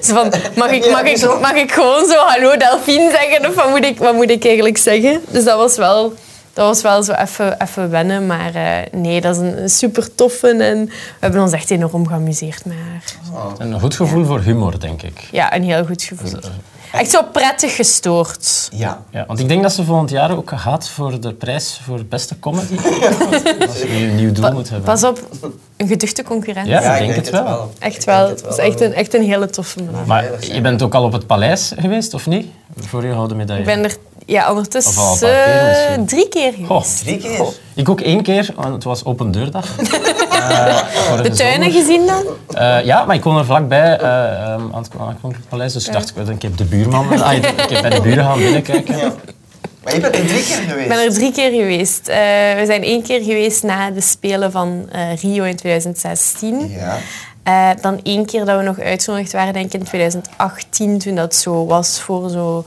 [SPEAKER 2] Zo van, mag ik, mag,
[SPEAKER 4] Ja, zo.
[SPEAKER 2] ik, mag ik gewoon zo hallo Delphine zeggen? Of wat moet ik, wat moet ik eigenlijk zeggen? Dus dat was wel, dat was wel zo even, even wennen. Maar eh, nee, dat is een, super toffe. En we hebben ons echt enorm geamuseerd met haar.
[SPEAKER 1] Een goed gevoel voor humor, denk ik.
[SPEAKER 2] Ja, een heel goed gevoel.
[SPEAKER 1] Eh,
[SPEAKER 2] Echt zo prettig gestoord.
[SPEAKER 4] Ja.
[SPEAKER 1] Ja, want ik denk dat ze volgend jaar ook gaat voor de prijs voor beste comedy. Als je een nieuw doel moet hebben.
[SPEAKER 2] Pas op, een geduchte concurrentie.
[SPEAKER 1] Ja, ik denk het wel.
[SPEAKER 2] Echt
[SPEAKER 4] Ik
[SPEAKER 2] wel.
[SPEAKER 4] denk het
[SPEAKER 2] Het was echt een, echt een hele toffe man.
[SPEAKER 1] Maar
[SPEAKER 4] veilig zijn.
[SPEAKER 1] je bent ook al op het paleis geweest, of niet? Voor je gouden medaille.
[SPEAKER 2] Ik ben er ja,
[SPEAKER 1] Of al een
[SPEAKER 2] ondertussen
[SPEAKER 1] paar keer
[SPEAKER 2] eh,
[SPEAKER 1] misschien.
[SPEAKER 2] drie keer geweest.
[SPEAKER 1] Goh,
[SPEAKER 4] Drie keer.
[SPEAKER 1] ik ook één keer, want het was open deurdag. Eh, vorige
[SPEAKER 2] De tuinen
[SPEAKER 1] zomer.
[SPEAKER 2] gezien dan?
[SPEAKER 1] Eh, ja, maar ik kon er vlakbij eh, ehm, aan het aan het Koninklijk Paleis, dus ik dacht, ik wil een keer de buurman, ah, ik ik heb bij de buren gaan binnenkijken.
[SPEAKER 4] Ja. Maar je bent er drie keer geweest.
[SPEAKER 2] Ik ben er drie keer geweest. Eh, we zijn één keer geweest na de Spelen van eh, Rio in 2016.
[SPEAKER 4] Ja.
[SPEAKER 2] Eh, dan één keer dat we nog uitgenodigd waren, denk ik in 2018, toen dat zo was voor zo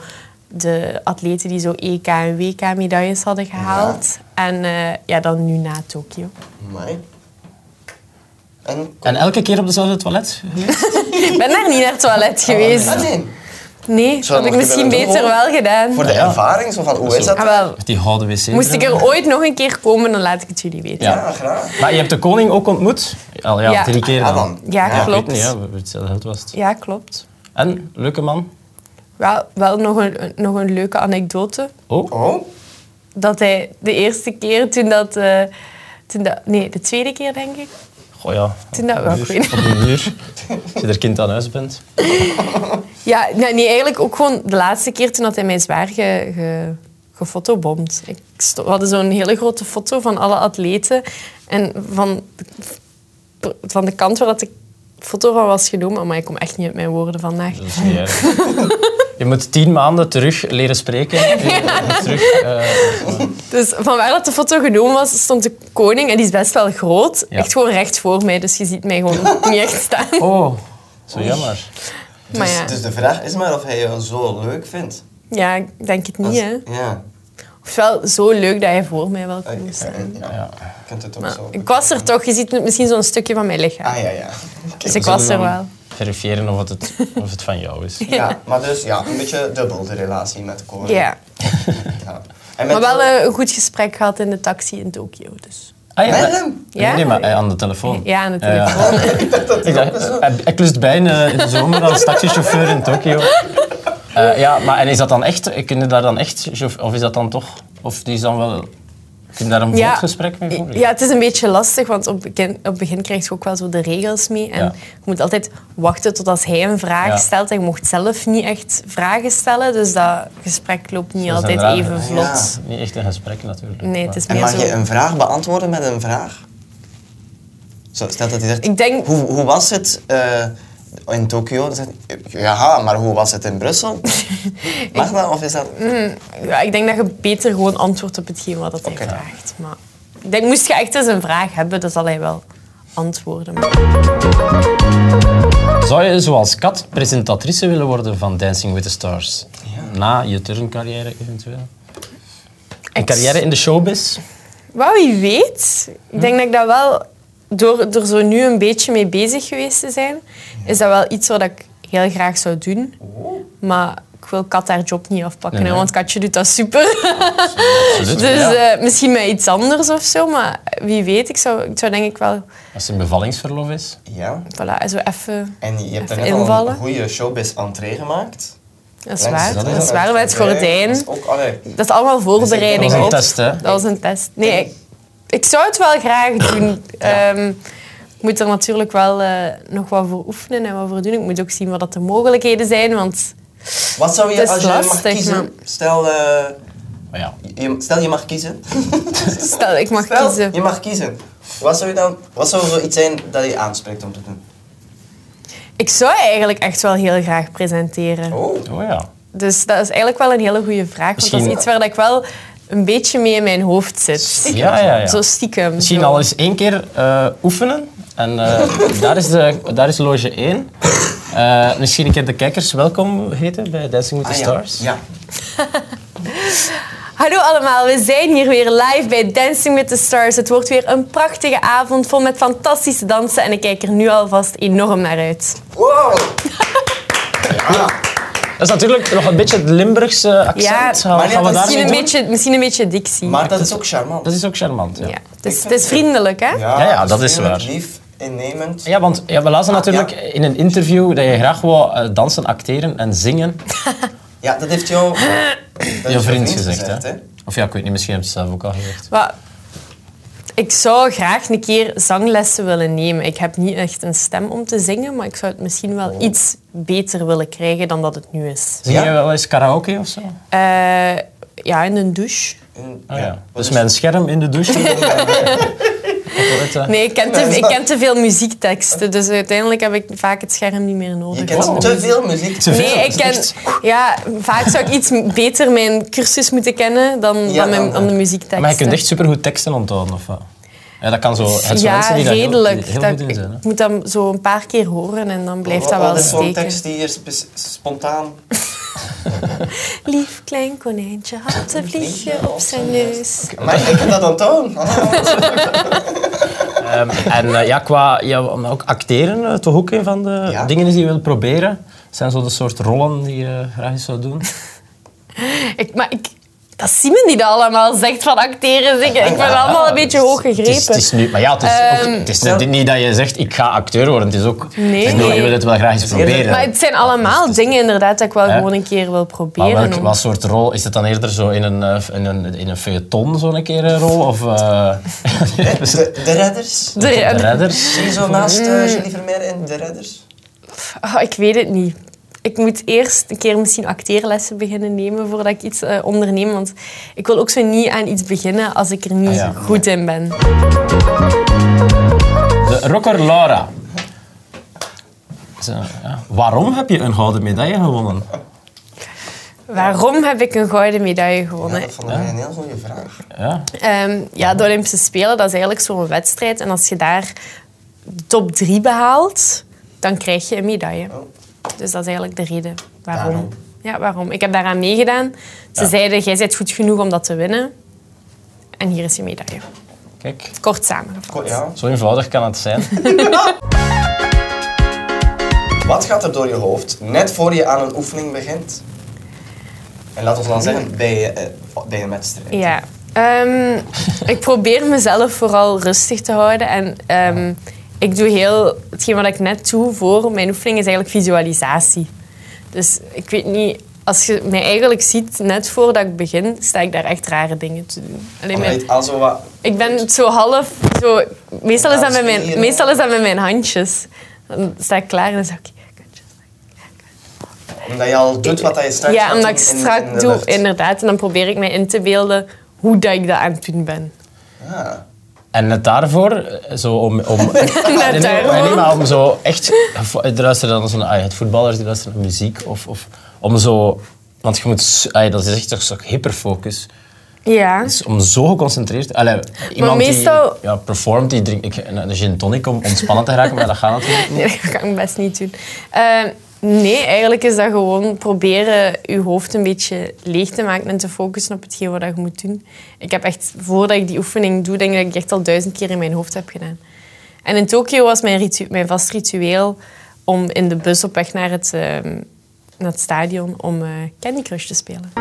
[SPEAKER 2] de atleten die zo EK en WK medailles hadden gehaald. En eh, ja, dan nu na Tokio.
[SPEAKER 4] Amai. En...
[SPEAKER 1] En elke keer op dezelfde toilet?
[SPEAKER 2] Ik ben daar niet naar het toilet
[SPEAKER 4] Ah,
[SPEAKER 2] geweest.
[SPEAKER 4] nee.
[SPEAKER 2] Nee, dat
[SPEAKER 4] Zou
[SPEAKER 2] had ik
[SPEAKER 4] nog
[SPEAKER 2] misschien
[SPEAKER 4] willen doen,
[SPEAKER 2] beter
[SPEAKER 4] hoor.
[SPEAKER 2] wel gedaan.
[SPEAKER 4] Voor de
[SPEAKER 1] Ja.
[SPEAKER 4] ervaring, zo van hoe is dat?
[SPEAKER 2] Ah, wel.
[SPEAKER 1] Met die gouden wc.
[SPEAKER 2] Moest ik er ooit nog een keer komen, dan laat ik het jullie weten.
[SPEAKER 1] Ja.
[SPEAKER 4] Ja, graag.
[SPEAKER 1] Maar je hebt de koning ook ontmoet? Al ja,
[SPEAKER 2] Ja.
[SPEAKER 1] drie keer
[SPEAKER 4] Ja,
[SPEAKER 1] dan.
[SPEAKER 4] Ah, dan.
[SPEAKER 2] Ja,
[SPEAKER 1] Ja, ik weet
[SPEAKER 2] klopt.
[SPEAKER 1] niet, ja, hetzelfde geld was het.
[SPEAKER 2] ja klopt.
[SPEAKER 1] En, leuke man.
[SPEAKER 2] Wel, wel nog, een, een- nog een leuke anekdote.
[SPEAKER 1] Oh,
[SPEAKER 4] Oh.
[SPEAKER 2] Dat hij de eerste keer toen dat... eh, toen dat nee, de tweede keer denk ik.
[SPEAKER 1] goh ja.
[SPEAKER 2] Toen dat wel, ik weet
[SPEAKER 1] Op een muur. Als je er kind aan huis bent.
[SPEAKER 2] Ja, nee, nee, eigenlijk ook gewoon de laatste keer toen dat hij mij zwaar ge, ge, gefotobomd. Ik sto- we hadden zo'n hele grote foto van alle atleten. En van, de- van de kant waar dat de foto van was genomen... Maar ik kom echt niet uit mijn woorden vandaag.
[SPEAKER 1] Dat is niet erg. Je moet tien maanden terug leren spreken. Terug, eh,
[SPEAKER 2] Dus van waar dat de foto genomen was, stond de koning. En die is best wel groot.
[SPEAKER 1] Ja.
[SPEAKER 2] Echt gewoon recht voor mij. Dus je ziet mij gewoon niet echt staan.
[SPEAKER 1] oh, zo jammer.
[SPEAKER 2] maar
[SPEAKER 4] Dus,
[SPEAKER 2] ja.
[SPEAKER 4] dus de vraag is maar of hij jou zo leuk vindt.
[SPEAKER 2] Ja, ik denk het
[SPEAKER 4] Dat
[SPEAKER 2] niet,
[SPEAKER 4] is-
[SPEAKER 2] hè.
[SPEAKER 4] Ja.
[SPEAKER 2] Ofwel zo leuk dat hij voor mij wel
[SPEAKER 4] Ja,
[SPEAKER 2] kon
[SPEAKER 4] ja,
[SPEAKER 2] staan.
[SPEAKER 4] ja. Je kunt het ook
[SPEAKER 2] Maar
[SPEAKER 4] zo.
[SPEAKER 2] ik was er toch. Je ziet misschien zo'n stukje van mijn lichaam.
[SPEAKER 4] Ah ja, ja. Oh,
[SPEAKER 2] Dus ik was er wel.
[SPEAKER 1] Verifiëren of het, of het van jou is.
[SPEAKER 4] Ja, maar dus ja, een beetje dubbel de relatie met de koning.
[SPEAKER 2] Ja.
[SPEAKER 4] Ja.
[SPEAKER 2] Maar
[SPEAKER 4] En met
[SPEAKER 2] wel eh, een goed gesprek gehad in de taxi in Tokio. Dus.
[SPEAKER 1] Ah, ja,
[SPEAKER 4] Met
[SPEAKER 1] dat-
[SPEAKER 4] hem?
[SPEAKER 1] Nee, Nee, maar eh, aan de telefoon.
[SPEAKER 2] Ja, aan de
[SPEAKER 1] Ja, ja.
[SPEAKER 2] telefoon.
[SPEAKER 1] Ik dacht, eh, hij- hij klust bijna in de zomer als taxichauffeur in Tokio. Eh, ja, maar en is dat dan echt, kunnen daar dan echt, chauff- of is dat dan toch, of die is dan wel vind daar een
[SPEAKER 2] Ja,
[SPEAKER 1] goed gesprek mee voeren.
[SPEAKER 2] ja, het is een beetje lastig, want op begin, op begin krijg je ook wel zo de regels mee. En
[SPEAKER 1] Ja.
[SPEAKER 2] je moet altijd wachten tot als hij een vraag
[SPEAKER 1] Ja.
[SPEAKER 2] stelt. En je mocht zelf niet echt vragen stellen, dus dat gesprek loopt niet
[SPEAKER 1] Dat is
[SPEAKER 2] altijd
[SPEAKER 1] inderdaad-
[SPEAKER 2] even
[SPEAKER 1] ja,
[SPEAKER 2] vlot.
[SPEAKER 1] Niet echt een gesprek natuurlijk.
[SPEAKER 2] Nee, het is
[SPEAKER 4] En
[SPEAKER 2] meer
[SPEAKER 4] mag
[SPEAKER 2] zo...
[SPEAKER 4] je een vraag beantwoorden met een vraag? Zo, stel dat hij zegt,
[SPEAKER 2] Ik denk-
[SPEAKER 4] hoe, hoe was het eh, in Tokio? Dan zegt hij, ja, maar hoe was het in Brussel? Mag dat of is dat...
[SPEAKER 2] Ja, ik denk dat je beter gewoon antwoordt op hetgeen wat dat hij
[SPEAKER 4] Oké.
[SPEAKER 2] vraagt. Maar ik denk, moest je echt eens een vraag hebben, dan zal hij wel antwoorden. Maar
[SPEAKER 1] Zou je zoals Kat presentatrice willen worden van Dancing with the Stars? Na je turncarrière eventueel? Een
[SPEAKER 2] ik-
[SPEAKER 1] carrière in de showbiz?
[SPEAKER 2] Dus, Wat wie weet. Ik denk dat ik dat wel, door er zo nu een beetje mee bezig geweest te zijn, is dat wel iets wat ik heel graag zou doen. Maar ik wil Kat haar job niet afpakken,
[SPEAKER 1] Nee,
[SPEAKER 2] hè,
[SPEAKER 1] nee.
[SPEAKER 2] want Katje doet dat super.
[SPEAKER 1] Absoluut.
[SPEAKER 2] Dus
[SPEAKER 1] ja.
[SPEAKER 2] eh, misschien met iets anders of zo, maar wie weet. Ik zou, ik zou denk ik wel,
[SPEAKER 1] Als ze in bevallingsverlof is.
[SPEAKER 4] Ja.
[SPEAKER 2] voilà, zo even...
[SPEAKER 4] En je hebt
[SPEAKER 2] Even
[SPEAKER 4] daarnet al een
[SPEAKER 2] invallen.
[SPEAKER 4] goede showbiz-entree gemaakt.
[SPEAKER 2] Dat is
[SPEAKER 4] Langs
[SPEAKER 2] waar,
[SPEAKER 4] de
[SPEAKER 2] dat
[SPEAKER 4] deur.
[SPEAKER 2] is waar, bij het
[SPEAKER 4] Dat
[SPEAKER 2] gordijn.
[SPEAKER 4] is ook, allee,
[SPEAKER 2] Dat is allemaal
[SPEAKER 1] Dat
[SPEAKER 2] voorbereiding
[SPEAKER 1] was een
[SPEAKER 2] op.
[SPEAKER 1] test, hè?
[SPEAKER 2] Dat was een test. Nee, ik, ik zou het wel graag doen. Ehm, ik moet er natuurlijk wel eh, nog wat voor oefenen en wat voor doen. Ik moet ook zien wat dat de mogelijkheden zijn, want...
[SPEAKER 4] Wat zou
[SPEAKER 2] Het
[SPEAKER 4] je,
[SPEAKER 2] is
[SPEAKER 4] als je mag
[SPEAKER 2] lastig,
[SPEAKER 4] kiezen,
[SPEAKER 2] maar-
[SPEAKER 4] stel, eh,
[SPEAKER 1] Maar ja,
[SPEAKER 4] je, stel je mag kiezen.
[SPEAKER 2] Stel, ik mag
[SPEAKER 4] Stel,
[SPEAKER 2] kiezen.
[SPEAKER 4] je mag kiezen. Wat zou, je dan, wat zou zo iets zijn dat je aanspreekt om te doen?
[SPEAKER 2] Ik zou eigenlijk echt wel heel graag presenteren.
[SPEAKER 4] Oh.
[SPEAKER 1] oh ja.
[SPEAKER 2] Dus dat is eigenlijk wel een hele goede vraag, want dat is
[SPEAKER 1] Misschien-
[SPEAKER 2] iets waar dat ik wel een beetje mee in mijn hoofd zit.
[SPEAKER 1] Ja, ja, ja.
[SPEAKER 2] Zo stiekem.
[SPEAKER 1] Misschien
[SPEAKER 2] zo.
[SPEAKER 1] al eens één keer eh, oefenen. En eh, daar, is de, daar is loge 1. Eh, misschien een keer de kijkers welkom heten bij Dancing with the
[SPEAKER 4] Ah, ja.
[SPEAKER 1] Stars.
[SPEAKER 4] Ja.
[SPEAKER 2] Hallo allemaal, we zijn hier weer live bij Dancing with the Stars. Het wordt weer een prachtige avond vol met fantastische dansen en ik kijk er nu alvast enorm naar uit.
[SPEAKER 4] Wow!
[SPEAKER 1] Dat is natuurlijk nog een beetje het Limburgse accent.
[SPEAKER 2] Ja,
[SPEAKER 1] Gaan-
[SPEAKER 4] maar
[SPEAKER 1] gaan we
[SPEAKER 4] dat is
[SPEAKER 1] daarmee
[SPEAKER 2] Misschien een
[SPEAKER 1] doen?
[SPEAKER 2] beetje, misschien een beetje dictie.
[SPEAKER 4] Maar dat is ook charmant.
[SPEAKER 1] Dat is ook charmant, ja.
[SPEAKER 2] ja, het, is, het is vriendelijk, hè?
[SPEAKER 1] Ja, ja, dat is
[SPEAKER 4] vriendelijk,
[SPEAKER 1] waar.
[SPEAKER 4] lief, innemend.
[SPEAKER 1] Ja, want ja, we lazen
[SPEAKER 4] Ah,
[SPEAKER 1] natuurlijk
[SPEAKER 4] ja.
[SPEAKER 1] in een interview dat je graag wou eh, dansen, acteren en zingen.
[SPEAKER 4] Ja, dat heeft jou...
[SPEAKER 1] Je vriend gezegd, hè? Of ja, ik weet niet, misschien heb je het zelf ook al gezegd.
[SPEAKER 2] Wat- ik zou graag een keer zanglessen willen nemen. Ik heb niet echt een stem om te zingen, maar ik zou het misschien
[SPEAKER 4] Oh.
[SPEAKER 2] wel iets beter willen krijgen dan dat het nu is.
[SPEAKER 1] Zing
[SPEAKER 4] Ja.
[SPEAKER 1] je wel eens karaoke of zo?
[SPEAKER 2] Eh, ja, in een douche.
[SPEAKER 1] Ah, ja. Dus met een scherm in de douche. Of wat, eh,
[SPEAKER 2] Nee, ik ken, te, ik ken te veel muziekteksten, dus uiteindelijk heb ik vaak het scherm niet meer nodig.
[SPEAKER 4] Je kent
[SPEAKER 1] Wow.
[SPEAKER 4] te veel muziek.
[SPEAKER 1] Oh. Te veel.
[SPEAKER 2] Nee, ik ken...
[SPEAKER 1] Echt?
[SPEAKER 2] Ja, vaak zou ik iets beter mijn cursus moeten kennen dan, dan, mijn,
[SPEAKER 4] dan-
[SPEAKER 2] dan de
[SPEAKER 1] Maar je
[SPEAKER 2] muziekteksten.
[SPEAKER 1] kunt echt supergoed teksten onthouden, of wat? Ja, dat kan zo. Er zijn
[SPEAKER 2] Dus Ja,
[SPEAKER 1] mensen die daar heel-
[SPEAKER 2] redelijk.
[SPEAKER 1] die heel,
[SPEAKER 2] Dat-
[SPEAKER 1] goed in zijn. Hè?
[SPEAKER 2] ik moet dat zo een paar keer horen en dan blijft dat wel
[SPEAKER 4] Wat Oh, is zo'n
[SPEAKER 2] steken.
[SPEAKER 4] tekst die hier spe- spontaan...
[SPEAKER 2] Lief klein konijntje had een vliegje op zijn neus.
[SPEAKER 4] Maar ik heb dat dan toon.
[SPEAKER 1] Ehm, en eh, ja, qua ja, maar ook acteren, eh, toch ook een van de
[SPEAKER 4] Ja.
[SPEAKER 1] dingen die je wilt proberen. Zijn zo de soort rollen die je graag eens zou doen?
[SPEAKER 2] Ik, maar ik, dat is Simon die dat allemaal zegt van acteren, zingen. Ik ben allemaal een beetje hoog
[SPEAKER 1] Het is, het is
[SPEAKER 2] gegrepen.
[SPEAKER 1] nu, maar ja, het is, ook, het is niet, niet dat je zegt ik ga acteur worden. Het is ook,
[SPEAKER 2] Ehm, Nee.
[SPEAKER 1] ik bedoel, je wil het wel graag eens proberen.
[SPEAKER 2] Maar het zijn allemaal dingen inderdaad dat ik wel
[SPEAKER 1] Hè?
[SPEAKER 2] gewoon een keer wil
[SPEAKER 1] Maar
[SPEAKER 2] proberen.
[SPEAKER 1] welk,
[SPEAKER 2] om-
[SPEAKER 1] wat soort rol? Is het dan eerder zo in een, eh, in een, in een feuilleton zo'n keer een rol? Of eh,
[SPEAKER 4] De, de Redders.
[SPEAKER 2] De-
[SPEAKER 1] de redders?
[SPEAKER 4] Zie je zo naast eh, Julie Vermeer in De Redders?
[SPEAKER 2] Ah, ik weet het niet. Ik moet eerst een keer misschien acteerlessen beginnen nemen voordat ik iets eh, onderneem. Want ik wil ook zo niet aan iets beginnen als ik er niet
[SPEAKER 1] Ah, ja.
[SPEAKER 2] goed in ben.
[SPEAKER 1] De rocker Laura. Zo, ja. Waarom heb je een gouden medaille gewonnen?
[SPEAKER 2] Waarom heb ik een gouden medaille
[SPEAKER 4] Ja,
[SPEAKER 2] gewonnen?
[SPEAKER 4] dat vond ik een heel goede vraag.
[SPEAKER 1] Ja.
[SPEAKER 2] Ehm, ja, de Olympische Spelen, dat is eigenlijk zo'n wedstrijd. En als je daar top drie behaalt, dan krijg je een medaille.
[SPEAKER 1] Oh.
[SPEAKER 2] Dus dat is eigenlijk de reden waarom.
[SPEAKER 4] Daarom.
[SPEAKER 2] Ja, waarom. Ik heb daaraan meegedaan. Ze zeiden, jij bent goed genoeg om dat te winnen. En hier is je medaille.
[SPEAKER 1] Kijk,
[SPEAKER 2] Kort samengevat.
[SPEAKER 4] Ko- Ja.
[SPEAKER 1] zo eenvoudig kan het zijn.
[SPEAKER 4] Wat gaat er door je hoofd net voor je aan een oefening begint? En laat ons dan zeggen, bij je, eh, bij een wedstrijd.
[SPEAKER 2] Ja. Ehm, ik probeer mezelf vooral rustig te houden. En ehm, ik doe heel... Hetgeen wat ik net doe voor mijn oefening is eigenlijk visualisatie. Dus ik weet niet... als je mij eigenlijk ziet, net voordat ik begin, sta ik daar echt rare dingen te doen. Alleen
[SPEAKER 4] Omdat je
[SPEAKER 2] mijn-
[SPEAKER 4] het al zo wat...
[SPEAKER 2] ik ben zo half... Zo, meestal, is dat met mijn, meestal is dat met mijn handjes. Dan sta ik klaar en dan zeg ik... "Oké, handjes."
[SPEAKER 4] Omdat je al doet wat je straks
[SPEAKER 2] Ja,
[SPEAKER 4] gaat
[SPEAKER 2] omdat
[SPEAKER 4] doen
[SPEAKER 2] ik
[SPEAKER 4] in-
[SPEAKER 2] strak
[SPEAKER 4] in de
[SPEAKER 2] doe,
[SPEAKER 4] lucht.
[SPEAKER 2] inderdaad. En dan probeer ik mij in te beelden hoe dat ik dat aan het doen ben.
[SPEAKER 4] Ah.
[SPEAKER 1] En net daarvoor, eh, zo om... om Nee, nee,
[SPEAKER 2] daarvoor.
[SPEAKER 1] maar niet, maar om zo echt... gevo- Er luisteren dan zo'n... ah, het voetballers die luisteren naar muziek of... of om zo... Want je moet... s- ah, dat is echt toch zo'n hyperfocus.
[SPEAKER 2] Ja.
[SPEAKER 1] Dus om zo geconcentreerd... Allee, iemand
[SPEAKER 2] meestal-
[SPEAKER 1] die ja, performt, die drinkt ik- een, een gin tonic om ontspannen te geraken, maar dat gaat natuurlijk niet.
[SPEAKER 2] Nee, dat kan ik best niet doen. Eh, nee, eigenlijk is dat gewoon proberen je hoofd een beetje leeg te maken en te focussen op hetgeen wat je moet doen. Ik heb echt, voordat ik die oefening doe, denk ik dat ik echt al duizend keer in mijn hoofd heb gedaan. En in Tokio was mijn, ritu- mijn vast ritueel om in de bus op weg naar het, eh, naar het stadion om eh, Candy Crush te spelen.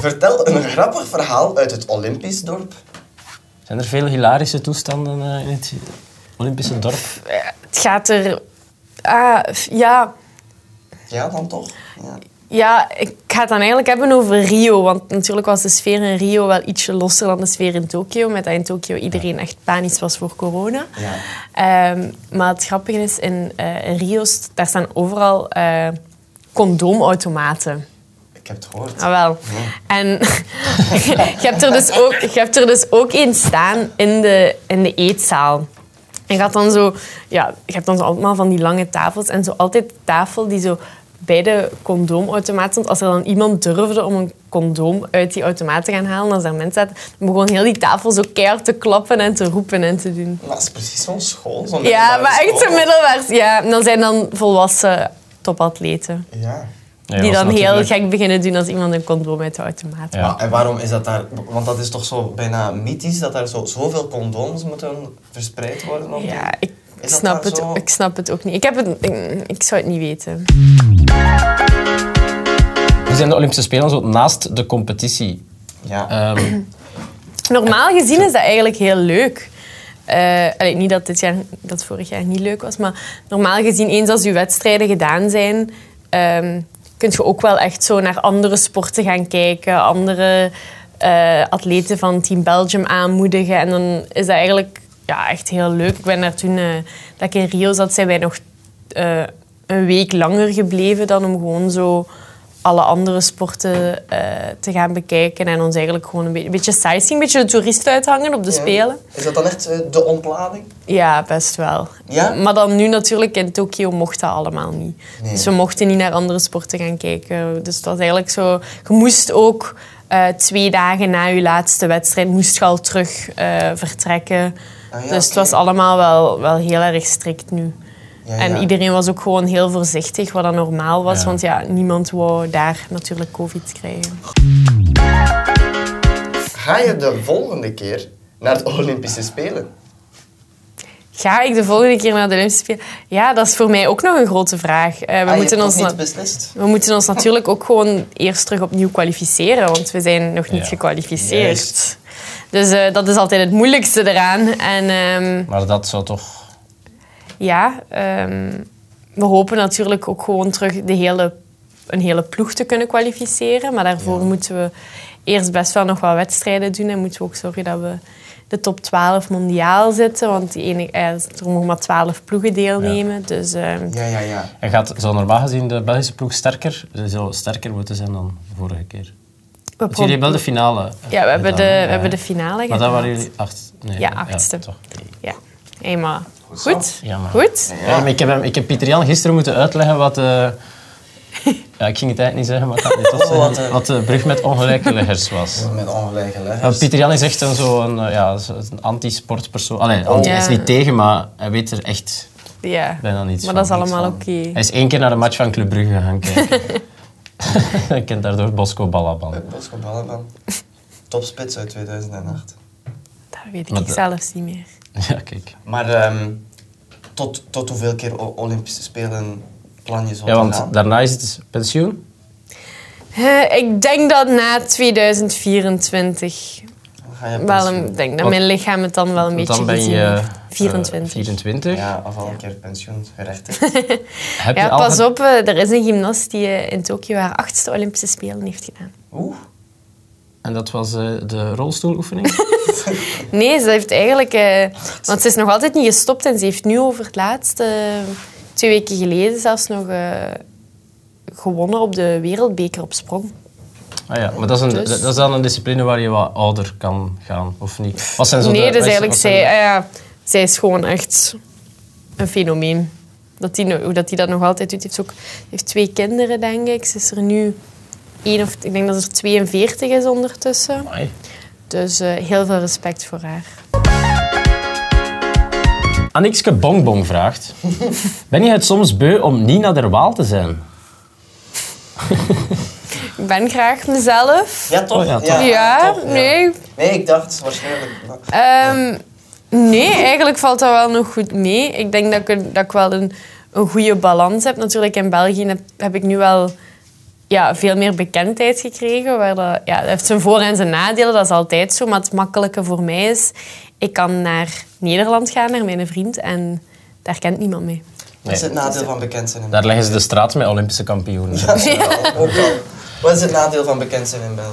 [SPEAKER 4] Vertel een grappig verhaal uit het Olympisch dorp.
[SPEAKER 1] Zijn er veel hilarische toestanden eh, in het Olympische dorp?
[SPEAKER 2] Het gaat er... Ah, f- ja...
[SPEAKER 4] Ja, dan toch? Ja.
[SPEAKER 2] Ja, ik ga het dan eigenlijk hebben over Rio. Want natuurlijk was de sfeer in Rio wel ietsje losser dan de sfeer in Tokio. Met dat in Tokio iedereen echt panisch was voor corona.
[SPEAKER 4] Ja.
[SPEAKER 2] Ehm, maar het grappige is, in, eh, in Rio st- daar staan overal eh, condoomautomaten.
[SPEAKER 4] Ik heb het gehoord.
[SPEAKER 2] Ah, wel. En je hebt, er dus ook, je hebt er dus ook één staan in de, in de eetzaal. En je, had dan zo, ja, je hebt dan zo allemaal van die lange tafels. En zo altijd de tafel die zo bij de condoomautomaat stond. Als er dan iemand durfde om een condoom uit die automaat te gaan halen, als daar mensen zaten, dan begon heel die tafel zo keihard te klappen en te roepen en te doen.
[SPEAKER 4] Maar dat is precies zo'n school. Zo'n
[SPEAKER 2] Ja,
[SPEAKER 4] middelbare
[SPEAKER 2] maar echt
[SPEAKER 4] school.
[SPEAKER 2] zo middelbaars. Ja, en dan zijn dan volwassen topatleten.
[SPEAKER 4] Ja.
[SPEAKER 1] Nee,
[SPEAKER 2] Die
[SPEAKER 1] was
[SPEAKER 2] dan heel
[SPEAKER 1] natuurlijk-
[SPEAKER 2] gek beginnen doen als iemand een condoom uit de automaat
[SPEAKER 1] Ja.
[SPEAKER 4] Maar en waarom is dat daar... Want dat is toch zo bijna mythisch dat daar zo, zoveel condooms moeten verspreid worden? Op die-
[SPEAKER 2] Ja, ik
[SPEAKER 4] Is dat
[SPEAKER 2] snap,
[SPEAKER 4] daar
[SPEAKER 2] het,
[SPEAKER 4] zo?
[SPEAKER 2] ik snap het ook niet. Ik, heb het, ik, ik zou het niet weten.
[SPEAKER 1] We zijn de Olympische Spelen zo naast de competitie.
[SPEAKER 4] Ja.
[SPEAKER 1] Ehm,
[SPEAKER 2] Normaal gezien is dat eigenlijk heel leuk. Eh, allee, niet dat dit jaar, dat vorig jaar niet leuk was, maar normaal gezien, eens als je wedstrijden gedaan zijn, ehm kun je ook wel echt zo naar andere sporten gaan kijken, andere eh, atleten van Team Belgium aanmoedigen. En dan is dat eigenlijk ja, echt heel leuk. Ik ben daar toen, eh, dat ik in Rio zat, zijn wij nog eh, een week langer gebleven dan om gewoon zo alle andere sporten eh, te gaan bekijken en ons eigenlijk gewoon een beetje, een beetje sightseeing, een beetje de toeristen uithangen op de Spelen.
[SPEAKER 4] Is dat dan echt eh, de ontlading?
[SPEAKER 2] Ja, best wel.
[SPEAKER 4] Ja?
[SPEAKER 2] Maar dan nu natuurlijk in Tokio mocht dat allemaal niet.
[SPEAKER 4] Nee.
[SPEAKER 2] Dus we mochten niet naar andere sporten gaan kijken. Dus dat was eigenlijk zo... Je moest ook eh, twee dagen na je laatste wedstrijd moest je al terug eh, vertrekken.
[SPEAKER 4] Ah ja,
[SPEAKER 2] dus het
[SPEAKER 4] oké.
[SPEAKER 2] was allemaal wel, wel heel erg strikt nu.
[SPEAKER 4] Ja,
[SPEAKER 2] En
[SPEAKER 4] ja.
[SPEAKER 2] iedereen was ook gewoon heel voorzichtig, wat dan normaal was.
[SPEAKER 1] Ja.
[SPEAKER 2] Want ja, niemand wou daar natuurlijk covid krijgen.
[SPEAKER 4] Ga je de volgende keer naar de Olympische Spelen?
[SPEAKER 2] Ga ik de volgende keer naar de Olympische Spelen? Ja, dat is voor mij ook nog een grote vraag. Eh, we
[SPEAKER 4] Ah, je
[SPEAKER 2] moeten
[SPEAKER 4] hebt
[SPEAKER 2] ons
[SPEAKER 4] nog
[SPEAKER 2] na-
[SPEAKER 4] niet beslist.
[SPEAKER 2] We moeten ons natuurlijk ook gewoon eerst terug opnieuw kwalificeren, want we zijn nog niet
[SPEAKER 1] Ja.
[SPEAKER 2] gekwalificeerd.
[SPEAKER 4] Juist.
[SPEAKER 2] Dus eh, dat is altijd het moeilijkste eraan. En ehm,
[SPEAKER 1] maar dat zou toch...
[SPEAKER 2] ja, ehm, we hopen natuurlijk ook gewoon terug de hele, een hele ploeg te kunnen kwalificeren. Maar daarvoor moeten we eerst best wel nog wat wedstrijden doen. En moeten we ook zorgen dat we de top 12 mondiaal zitten. Want die ene, eh, er mogen maar 12 ploegen deelnemen. Dus ehm,
[SPEAKER 4] Ja, ja, ja.
[SPEAKER 1] En gaat zo normaal gezien de Belgische ploeg sterker? Ze zou sterker moeten zijn dan de vorige keer.
[SPEAKER 2] we
[SPEAKER 1] Want jullie
[SPEAKER 2] proberen-
[SPEAKER 1] hebben wel de finale. eh,
[SPEAKER 2] Ja, we hebben de,
[SPEAKER 1] gedaan, hè?
[SPEAKER 2] we hebben de finale
[SPEAKER 1] Maar
[SPEAKER 2] gedaan.
[SPEAKER 1] dat waren jullie acht. Nee,
[SPEAKER 2] Ja, achtste.
[SPEAKER 1] toch.
[SPEAKER 2] Ja, hey, maar goed.
[SPEAKER 4] zo.
[SPEAKER 2] Goed?
[SPEAKER 1] Ja, maar- Ja, maar Ehm, ik, heb hem, ik heb Pieter Jan gisteren moeten uitleggen wat... eh, ja, ik ging het eigenlijk niet zeggen, maar ik had het toch
[SPEAKER 4] Oh, wat,
[SPEAKER 1] zeggen.
[SPEAKER 4] eh.
[SPEAKER 1] Wat de brug met ongelijke leggers was.
[SPEAKER 4] Met ongelijke
[SPEAKER 1] Ja,
[SPEAKER 4] leggers.
[SPEAKER 1] Eh, Oh, Pieter Jan is echt een, zo een, eh, ja, zo- een anti-sportpersoon. Allee, anti
[SPEAKER 2] Oh. Ja.
[SPEAKER 1] hij is niet tegen, maar hij weet er echt
[SPEAKER 2] Ja.
[SPEAKER 1] bijna niets
[SPEAKER 2] Maar
[SPEAKER 1] van.
[SPEAKER 2] dat is allemaal oké.
[SPEAKER 1] Hij is één keer naar een match van Club Brugge gaan kijken. Hij kent daardoor Bosco Balaban.
[SPEAKER 4] Bosco Ballaban. Topspits uit 2008.
[SPEAKER 2] Dat weet ik
[SPEAKER 1] Maar dat-
[SPEAKER 2] zelfs niet meer.
[SPEAKER 1] Ja, kijk.
[SPEAKER 4] Maar ehm, tot, tot hoeveel keer O- Olympische Spelen plan je zo
[SPEAKER 1] Ja,
[SPEAKER 4] te
[SPEAKER 1] want
[SPEAKER 4] gaan?
[SPEAKER 1] daarna is het pensioen.
[SPEAKER 2] Eh, ik denk dat na 2024
[SPEAKER 4] Dan ga je
[SPEAKER 2] wel
[SPEAKER 4] pensioen.
[SPEAKER 2] een, denk dat
[SPEAKER 1] Wat-
[SPEAKER 2] mijn lichaam het dan wel
[SPEAKER 1] want
[SPEAKER 2] een beetje
[SPEAKER 1] Dus, eh, dan ben
[SPEAKER 2] gezien
[SPEAKER 1] je eh,
[SPEAKER 2] heeft. 24.
[SPEAKER 1] 24.
[SPEAKER 4] Ja, of al een keer pensioengerechtigd.
[SPEAKER 1] Heb
[SPEAKER 2] Ja,
[SPEAKER 1] je al
[SPEAKER 2] pas
[SPEAKER 1] ge-
[SPEAKER 2] op, eh, er is een gymnast die eh, in Tokio haar achtste Olympische Spelen heeft gedaan.
[SPEAKER 4] Oeh.
[SPEAKER 1] En dat was eh, de rolstoeloefening.
[SPEAKER 2] Nee, ze heeft eigenlijk... eh, want ze is nog altijd niet gestopt en ze heeft nu over het laatst, eh, twee weken geleden zelfs nog, eh, gewonnen op de wereldbeker op sprong.
[SPEAKER 1] ah ja, maar dat is, een,
[SPEAKER 2] Dus-
[SPEAKER 1] dat dat is dan een discipline waar je wat ouder kan gaan, of niet? Wat zijn zo de-
[SPEAKER 2] nee,
[SPEAKER 1] wat
[SPEAKER 2] dus
[SPEAKER 1] is-
[SPEAKER 2] eigenlijk,
[SPEAKER 1] wat
[SPEAKER 2] zij,
[SPEAKER 1] zijn de-
[SPEAKER 2] ah ja, zij is gewoon echt een fenomeen. Dat die, no- hoe dat, die dat nog altijd doet. Ze heeft, ook, die heeft twee kinderen, denk ik. Ze is er nu één of... Ik denk dat ze er 42 is ondertussen.
[SPEAKER 1] Amai.
[SPEAKER 2] Dus eh, heel veel respect voor haar.
[SPEAKER 1] Anikske Bongbong vraagt... ben je het soms beu om Nina der Waal te zijn?
[SPEAKER 2] Ik ben graag mezelf.
[SPEAKER 4] Ja, toch?
[SPEAKER 1] Oh ja, toch.
[SPEAKER 2] Ja,
[SPEAKER 4] toch,
[SPEAKER 2] nee.
[SPEAKER 4] Nee, ik dacht waarschijnlijk...
[SPEAKER 2] Ehm, nee, eigenlijk valt dat wel nog goed mee. Ik denk dat ik, een- dat ik wel een, een goede balans heb. Natuurlijk, in België heb, heb ik nu wel ja, veel meer bekendheid gekregen. Waar dat, ja, dat heeft zijn voor- en zijn nadelen, dat is altijd zo. Maar het makkelijke voor mij is, ik kan naar Nederland gaan, naar mijn vriend. En daar kent niemand mee.
[SPEAKER 4] Wat is het nadeel van bekend zijn in
[SPEAKER 1] Daar leggen ze de straat met Olympische kampioenen.
[SPEAKER 4] België? Ook al. Wat is het nadeel van bekend zijn in België?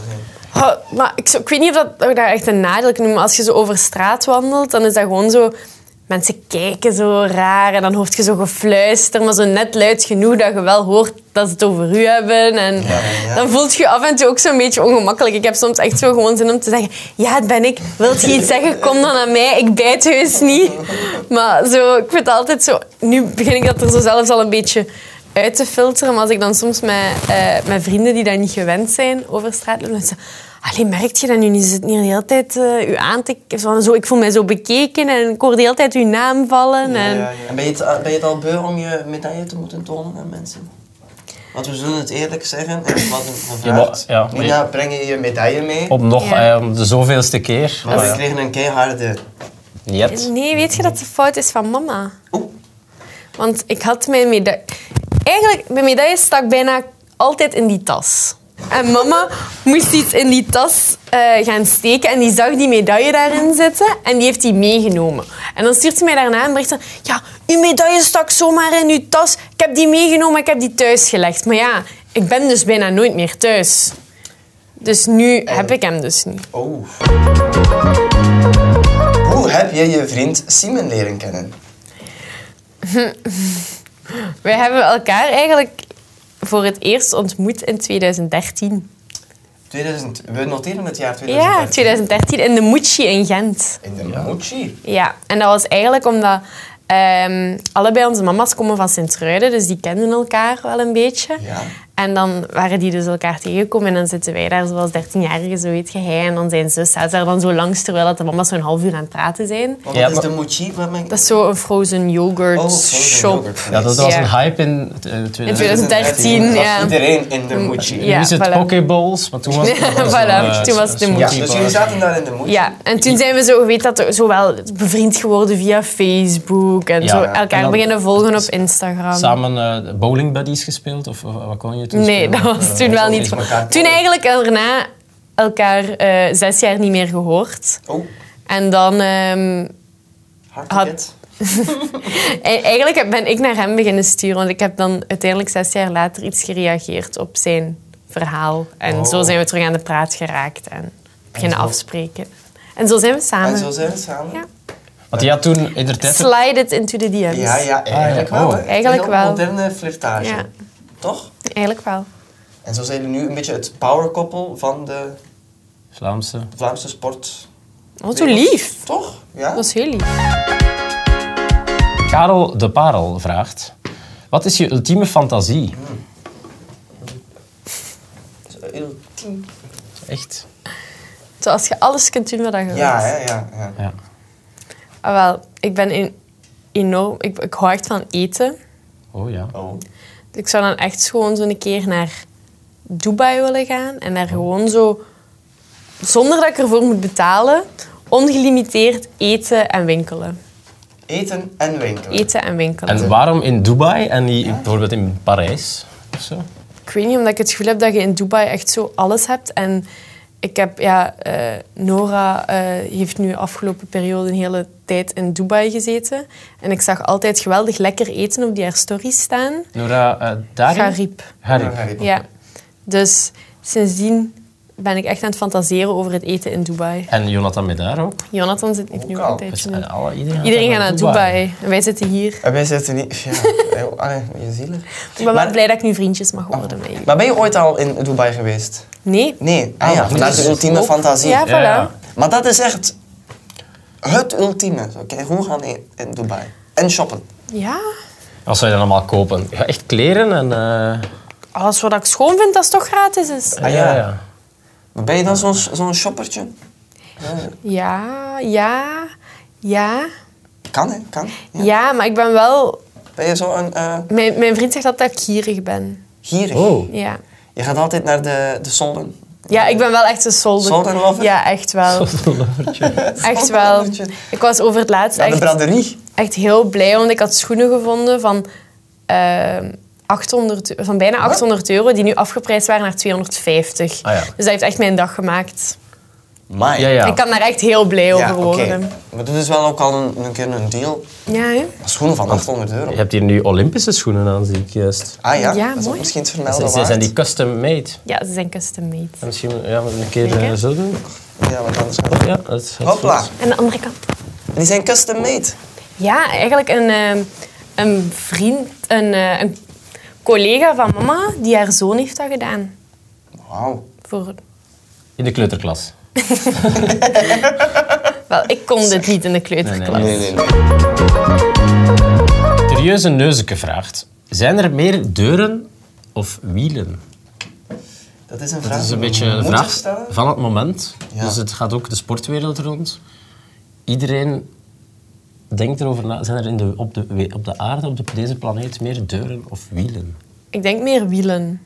[SPEAKER 2] Oh, maar ik, zo- ik weet niet of dat, of ik daar echt een nadeel kan noemen. Maar als je zo over straat wandelt, dan is dat gewoon zo... Mensen kijken zo raar en dan hoort je zo gefluister, maar zo net luid genoeg dat je wel hoort dat ze het over u hebben. En
[SPEAKER 4] ja.
[SPEAKER 2] dan voelt je af en toe ook zo'n beetje ongemakkelijk. Ik heb soms echt zo gewoon zin om te zeggen, ja, het ben ik. Wilt je iets zeggen? Kom dan aan mij. Ik bijt heus niet. Maar zo, ik vind het altijd zo... Nu begin ik dat er zo zelfs al een beetje uit te filteren. Maar als ik dan soms met, eh, met vrienden die dat niet gewend zijn over straat lopen, dan zeggen ze, Allee, merkt je dat nu niet? Ze zit hier de hele tijd eh, u aan te k- van zo, Ik voel mij zo bekeken en ik hoor de hele tijd uw naam vallen. En...
[SPEAKER 4] En ben je, het, ben je het al beu om je medaille te moeten tonen aan mensen? Want we zullen het eerlijk zeggen, er was een gevraagd.
[SPEAKER 1] Ja, maar- ja,
[SPEAKER 4] Nina, breng je je medaille mee?
[SPEAKER 1] Op nog
[SPEAKER 2] Ja.
[SPEAKER 1] eh, om de zoveelste keer. Ah,
[SPEAKER 4] Maar we
[SPEAKER 1] Ja.
[SPEAKER 4] kregen een keiharde...
[SPEAKER 1] Niet.
[SPEAKER 2] Nee, weet je dat de fout is van mama?
[SPEAKER 4] Oeh.
[SPEAKER 2] Want ik had mijn medaille... Eigenlijk, mijn medaille stak bijna altijd in die tas. En mama moest iets in die tas eh, gaan steken en die zag die medaille daarin zitten en die heeft die meegenomen. En dan stuurt ze mij daarna een bericht van... Ja, uw medaille stak zomaar in uw tas. Ik heb die meegenomen, ik heb die thuis gelegd. Maar ja, ik ben dus bijna nooit meer thuis. Dus nu heb ik hem dus niet.
[SPEAKER 4] Oeh. Hoe heb je je vriend Simon leren kennen?
[SPEAKER 2] Wij hebben elkaar eigenlijk voor het eerst ontmoet in 2013.
[SPEAKER 4] 2000, we noteren het jaar 2013.
[SPEAKER 2] Ja, 2013 in de Moechi in Gent.
[SPEAKER 4] In de Mochi.
[SPEAKER 2] Ja, en dat was eigenlijk omdat ehm, allebei onze mama's komen van Sint-Truiden, dus die kenden elkaar wel een beetje.
[SPEAKER 4] Ja.
[SPEAKER 2] En dan waren die dus elkaar tegengekomen en dan zitten wij daar zoals 13-jarigen, zo weet je, hij en dan zijn zus zaten daar dan zo langs, terwijl dat de mama's zo'n half uur aan het praten zijn.
[SPEAKER 4] Want
[SPEAKER 1] Ja,
[SPEAKER 4] dat is
[SPEAKER 1] maar-
[SPEAKER 4] de Mochi. Wat mijn...
[SPEAKER 2] Dat is zo een frozen yogurt
[SPEAKER 4] Oh, frozen
[SPEAKER 2] shop.
[SPEAKER 4] yoghurt.
[SPEAKER 1] Ja, dat was
[SPEAKER 2] Ja.
[SPEAKER 1] een hype in t- eh, 2000.
[SPEAKER 2] 2013,
[SPEAKER 4] was
[SPEAKER 2] ja.
[SPEAKER 4] iedereen in de Mochi.
[SPEAKER 2] Ja,
[SPEAKER 1] nu is het
[SPEAKER 2] voilà.
[SPEAKER 1] pokeballs, maar toen was het... nog
[SPEAKER 2] Voilà,
[SPEAKER 1] zo'n, eh,
[SPEAKER 2] toen was het de
[SPEAKER 1] zo'n
[SPEAKER 4] Ja,
[SPEAKER 2] Mochi.
[SPEAKER 4] dus
[SPEAKER 1] multibar.
[SPEAKER 4] jullie zaten daar in de Mochi.
[SPEAKER 2] Ja, en toen zijn we zo, weet dat, zo wel bevriend geworden via Facebook en
[SPEAKER 1] Ja.
[SPEAKER 2] zo
[SPEAKER 1] En
[SPEAKER 2] elkaar
[SPEAKER 1] dan-
[SPEAKER 2] beginnen volgen op Instagram.
[SPEAKER 1] Samen eh bowling buddies gespeeld? Of, of wat kon je toen
[SPEAKER 2] Nee,
[SPEAKER 1] spelen?
[SPEAKER 2] dat was
[SPEAKER 1] Eh,
[SPEAKER 2] toen wel
[SPEAKER 4] is
[SPEAKER 2] niet.
[SPEAKER 4] elkaar volgen.
[SPEAKER 2] Toen eigenlijk daarna elkaar eh, zes jaar niet meer gehoord.
[SPEAKER 4] Oh,
[SPEAKER 2] En dan ehm, Had-
[SPEAKER 4] hartje.
[SPEAKER 2] e- eigenlijk ben ik naar hem beginnen sturen, want ik heb dan uiteindelijk zes jaar later iets gereageerd op zijn verhaal. En
[SPEAKER 4] Oh.
[SPEAKER 2] zo zijn we terug aan de praat geraakt en beginnen
[SPEAKER 4] zo.
[SPEAKER 2] afspreken. En zo zijn we samen.
[SPEAKER 4] En Ah, zo zijn we samen.
[SPEAKER 2] Ja.
[SPEAKER 1] Want ja, toen in de tijd...
[SPEAKER 2] Slide it into the DM's.
[SPEAKER 4] Ja, ja, eigenlijk
[SPEAKER 1] Ah, ja.
[SPEAKER 4] wel.
[SPEAKER 1] Oh.
[SPEAKER 4] Hè.
[SPEAKER 2] Eigenlijk
[SPEAKER 4] Heel
[SPEAKER 2] wel.
[SPEAKER 4] moderne flirtage.
[SPEAKER 2] Ja.
[SPEAKER 4] Toch?
[SPEAKER 2] Eigenlijk wel.
[SPEAKER 4] En zo zijn jullie nu een beetje het powerkoppel van de
[SPEAKER 1] Vlaamse.
[SPEAKER 4] Vlaamse sport.
[SPEAKER 2] Wat zo lief.
[SPEAKER 4] Toch? Ja.
[SPEAKER 2] Dat is heel lief.
[SPEAKER 1] Karel de Parel vraagt... Wat is je ultieme fantasie?
[SPEAKER 4] Ultiem.
[SPEAKER 1] Echt?
[SPEAKER 2] Zoals je alles kunt doen wat je wilt.
[SPEAKER 4] Ja, hè, ja, ja.
[SPEAKER 1] Ja.
[SPEAKER 2] Ah, wel, ik ben een- enorm... Ik, ik hou echt van eten.
[SPEAKER 1] Oh ja.
[SPEAKER 4] Oh.
[SPEAKER 2] Ik zou dan echt gewoon zo'n keer naar Dubai willen gaan. En daar gewoon zo... Zonder dat ik ervoor moet betalen... Ongelimiteerd eten en winkelen.
[SPEAKER 4] Eten en winkelen.
[SPEAKER 2] Eten en winkelen.
[SPEAKER 1] En waarom in Dubai en niet in- bijvoorbeeld in Parijs? Of zo?
[SPEAKER 2] Ik weet niet, omdat ik het gevoel heb dat je in Dubai echt zo alles hebt. En ik heb, ja, eh, Nora eh, heeft nu afgelopen periode een hele tijd in Dubai gezeten. En ik zag altijd geweldig lekker eten op die haar stories staan.
[SPEAKER 1] Nora eh Dari?
[SPEAKER 2] Gariep.
[SPEAKER 1] Garib.
[SPEAKER 2] Ja. Dus sindsdien ben ik echt aan het fantaseren over het eten in Dubai.
[SPEAKER 1] En Jonathan Medaar ook.
[SPEAKER 2] Jonathan zit heeft nu
[SPEAKER 4] Ook
[SPEAKER 2] ook
[SPEAKER 4] al.
[SPEAKER 2] een
[SPEAKER 1] Dus,
[SPEAKER 2] tijdje
[SPEAKER 1] en
[SPEAKER 2] mee.
[SPEAKER 1] alle, iedereen gaat
[SPEAKER 2] Iedereen
[SPEAKER 1] dan
[SPEAKER 2] gaat naar Dubai. En wij zitten hier.
[SPEAKER 4] En wij zitten niet... Ja, heel- allee, je zielig.
[SPEAKER 2] Ik ben wel
[SPEAKER 4] Maar-
[SPEAKER 2] blij dat ik nu vriendjes mag worden met jullie.
[SPEAKER 4] Maar ben je ooit al in Dubai geweest?
[SPEAKER 2] Nee?
[SPEAKER 4] Nee. Ah ja,
[SPEAKER 1] Ah,
[SPEAKER 4] dat is
[SPEAKER 1] dus-
[SPEAKER 4] de ultieme
[SPEAKER 1] ook-
[SPEAKER 4] fantasie.
[SPEAKER 2] Ja, voilà.
[SPEAKER 1] Ja.
[SPEAKER 4] Maar dat is echt het ultieme. Oké, hoe gaan in, in Dubai? En shoppen.
[SPEAKER 2] Ja.
[SPEAKER 1] Wat zou je dan allemaal kopen? Ja, echt kleren en... eh,
[SPEAKER 2] Alles wat ik schoon vind, dat is toch gratis? Is.
[SPEAKER 4] Ah, ja. Maar ben je dan zo'n zo'n shoppertje? Ja,
[SPEAKER 2] Ja, ja, ja.
[SPEAKER 4] kan hè, kan. Ja.
[SPEAKER 2] Ja, maar ik ben wel...
[SPEAKER 4] Ben je zo'n eh
[SPEAKER 2] Mijn, mijn vriend zegt altijd dat ik gierig ben.
[SPEAKER 4] gierig?
[SPEAKER 1] Oh.
[SPEAKER 2] Ja.
[SPEAKER 4] Je gaat altijd naar de, de solden.
[SPEAKER 2] Ja, ik ben wel echt een solder.
[SPEAKER 4] Zolderlover?
[SPEAKER 2] Ja, echt wel. Echt wel.
[SPEAKER 4] Zolderlovertje.
[SPEAKER 2] Ik was over het laatst
[SPEAKER 4] Naar de
[SPEAKER 2] echt,
[SPEAKER 4] braderie.
[SPEAKER 2] echt heel blij, want ik had schoenen gevonden van, ehm, 800, van bijna 800 euro, die nu afgeprijsd waren naar 250.
[SPEAKER 1] Ah, ja.
[SPEAKER 2] Dus dat heeft echt mijn dag gemaakt.
[SPEAKER 4] Maar
[SPEAKER 1] Ja, ja.
[SPEAKER 2] Ik kan daar echt heel blij over worden.
[SPEAKER 4] Maar dat is dus wel ook al een, een keer een deal.
[SPEAKER 2] Ja, hè?
[SPEAKER 4] Schoenen van 800 euro.
[SPEAKER 1] Je hebt hier nu Olympische schoenen aan, zie ik juist.
[SPEAKER 4] Ah ja,
[SPEAKER 2] Ja,
[SPEAKER 4] dat is ook
[SPEAKER 2] mooi.
[SPEAKER 4] misschien het
[SPEAKER 1] Ze-
[SPEAKER 4] vermelden
[SPEAKER 1] Ze zijn
[SPEAKER 4] waard.
[SPEAKER 1] die custom made.
[SPEAKER 2] ja, ze zijn custom made.
[SPEAKER 1] En misschien ja, een keer
[SPEAKER 2] Zeker.
[SPEAKER 1] eh, zo doen.
[SPEAKER 4] Ja, want anders gaat het-
[SPEAKER 1] Ja, dat is dat is
[SPEAKER 4] Hopla.
[SPEAKER 1] goed.
[SPEAKER 2] En de andere kant.
[SPEAKER 4] Die zijn custom made.
[SPEAKER 2] Ja, eigenlijk een, eh, een vriend, een, eh, een collega van mama, die haar zoon heeft dat gedaan.
[SPEAKER 4] Wauw.
[SPEAKER 2] Voor...
[SPEAKER 1] In de kleuterklas.
[SPEAKER 2] Wel, ik kon dit niet in de kleuterklas.
[SPEAKER 1] Nee, nee, Curieuze Neuzeke vraagt. Zijn er meer deuren of wielen?
[SPEAKER 4] Dat is een vraag.
[SPEAKER 1] Dat is een
[SPEAKER 4] die we
[SPEAKER 1] beetje een
[SPEAKER 4] moeten
[SPEAKER 1] vraag
[SPEAKER 4] stellen.
[SPEAKER 1] van het moment.
[SPEAKER 4] Ja.
[SPEAKER 1] Dus het gaat ook de sportwereld rond. Iedereen denkt erover na. Zijn er in de, op, de, we- op de aarde, op de- deze planeet, meer deuren of wielen?
[SPEAKER 2] Ik denk meer wielen.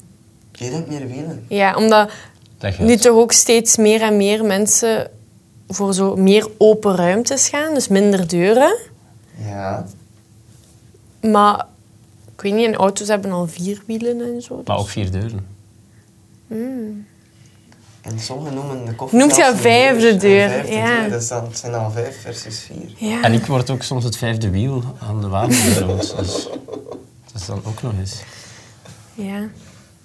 [SPEAKER 4] Je denkt meer wielen.
[SPEAKER 2] Ja, omdat
[SPEAKER 1] Leg uit.
[SPEAKER 2] nu toch ook steeds meer en meer mensen voor zo meer open ruimtes gaan, dus minder deuren.
[SPEAKER 4] Ja.
[SPEAKER 2] Maar ik weet niet, en auto's hebben al vier wielen en zo.
[SPEAKER 1] Maar ook vier deuren.
[SPEAKER 4] En sommigen noemen de koffie.
[SPEAKER 2] Noemt je
[SPEAKER 4] zelfs
[SPEAKER 2] een vijfde
[SPEAKER 4] een
[SPEAKER 2] deur,
[SPEAKER 4] vijfde
[SPEAKER 2] ja.
[SPEAKER 4] deur. Dat is dan, het zijn dan vijf versus vier.
[SPEAKER 2] Ja.
[SPEAKER 1] En ik word ook soms het vijfde wiel aan de wagen trouwens. Dus dat is dan ook nog eens.
[SPEAKER 2] ja.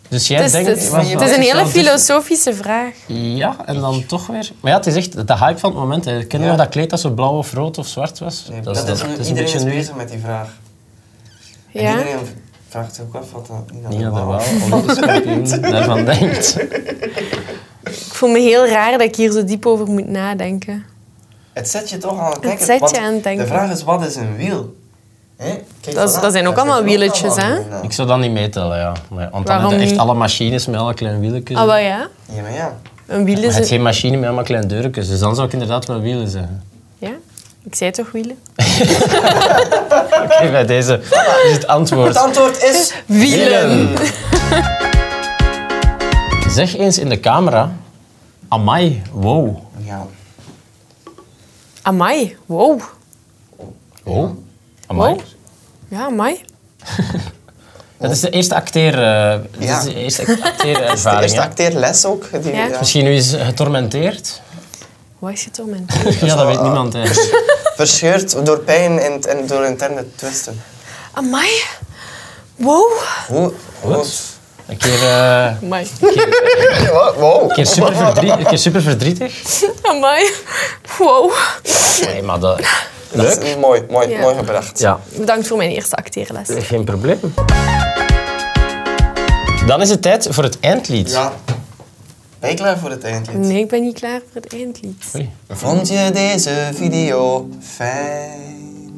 [SPEAKER 1] Dus jij
[SPEAKER 2] Het is,
[SPEAKER 1] denkt...
[SPEAKER 2] het is-
[SPEAKER 1] was
[SPEAKER 2] het
[SPEAKER 1] wel
[SPEAKER 2] is een hele
[SPEAKER 1] interessant.
[SPEAKER 2] filosofische vraag.
[SPEAKER 1] Ja, en dan toch weer... Maar ja, het is echt de hype van het moment. Hè. Ken je
[SPEAKER 4] Ja.
[SPEAKER 1] nog dat kleed dat zo blauw of rood of zwart was?
[SPEAKER 4] Nee, dat, is, nu,
[SPEAKER 1] het
[SPEAKER 4] iedereen is
[SPEAKER 1] nu-
[SPEAKER 4] bezig met die vraag. En
[SPEAKER 2] Ja?
[SPEAKER 4] iedereen vraagt zich ook af wat dat niet aan
[SPEAKER 1] Nina
[SPEAKER 4] de
[SPEAKER 1] de
[SPEAKER 4] wal-
[SPEAKER 1] Waal, Olympisch kampioen, daarvan denkt.
[SPEAKER 2] Ik voel me heel raar dat ik hier zo diep over moet nadenken.
[SPEAKER 4] Het zet je toch aan het denken.
[SPEAKER 2] zet je
[SPEAKER 4] want
[SPEAKER 2] aan het denken.
[SPEAKER 4] De vraag is, wat is een wiel? Hè? Kijk
[SPEAKER 2] Dat is-
[SPEAKER 4] vanaf,
[SPEAKER 2] dat zijn ook
[SPEAKER 4] daar
[SPEAKER 2] allemaal
[SPEAKER 4] zitten
[SPEAKER 2] wieletjes,
[SPEAKER 4] allemaal
[SPEAKER 2] hè?
[SPEAKER 4] wielen aan.
[SPEAKER 1] Ik zou dat niet meetellen, ja. Maar, want dan
[SPEAKER 2] Waarom
[SPEAKER 1] heb je echt
[SPEAKER 2] niet?
[SPEAKER 1] alle machines met elk klein wieletje.
[SPEAKER 2] Ah, wel ja.
[SPEAKER 4] Ja, maar ja.
[SPEAKER 2] Een wiel
[SPEAKER 1] Maar
[SPEAKER 2] is
[SPEAKER 1] het is
[SPEAKER 2] een...
[SPEAKER 1] geen machine met allemaal kleine deurtjes, dus dan zou ik inderdaad wel wielen zeggen.
[SPEAKER 2] Ja? Ik zei toch wielen?
[SPEAKER 1] Oké, bij deze is het
[SPEAKER 4] Het
[SPEAKER 1] antwoord.
[SPEAKER 4] antwoord is...
[SPEAKER 2] Wielen!
[SPEAKER 1] Zeg eens in de camera, amai, wow.
[SPEAKER 4] Ja.
[SPEAKER 2] Amai, wow.
[SPEAKER 1] Wow? Amai?
[SPEAKER 2] Wow. Ja, amai.
[SPEAKER 1] Dat is de eerste acteer... eh, dat
[SPEAKER 4] Ja.
[SPEAKER 1] is de eerste acteerervaring.
[SPEAKER 4] De eerste
[SPEAKER 1] hè.
[SPEAKER 4] acteerles ook. Die,
[SPEAKER 2] Ja.
[SPEAKER 1] Misschien nu is getormenteerd.
[SPEAKER 2] Wat is je torment?
[SPEAKER 1] ja, dat weet niemand eigenlijk.
[SPEAKER 4] Verscheurd door pijn en, en door interne twisten.
[SPEAKER 2] Amai? Wow.
[SPEAKER 4] Hoe? Hoe?
[SPEAKER 1] Een keer, eh,
[SPEAKER 2] Amai.
[SPEAKER 4] Ja, wow.
[SPEAKER 1] een keer, super, verdrie, een keer super verdrietig.
[SPEAKER 2] Amai. Wow.
[SPEAKER 1] Nee, maar dat...
[SPEAKER 4] Dat is mooi, mooi,
[SPEAKER 2] Ja.
[SPEAKER 4] mooi gebracht.
[SPEAKER 1] Ja,
[SPEAKER 2] Bedankt voor mijn eerste acteerles.
[SPEAKER 1] Geen probleem. Dan is het tijd voor het eindlied.
[SPEAKER 4] Ja. Ben je klaar voor het eindlied?
[SPEAKER 2] Nee, ik ben niet klaar voor het eindlied.
[SPEAKER 1] Oei.
[SPEAKER 4] Vond je deze video fijn?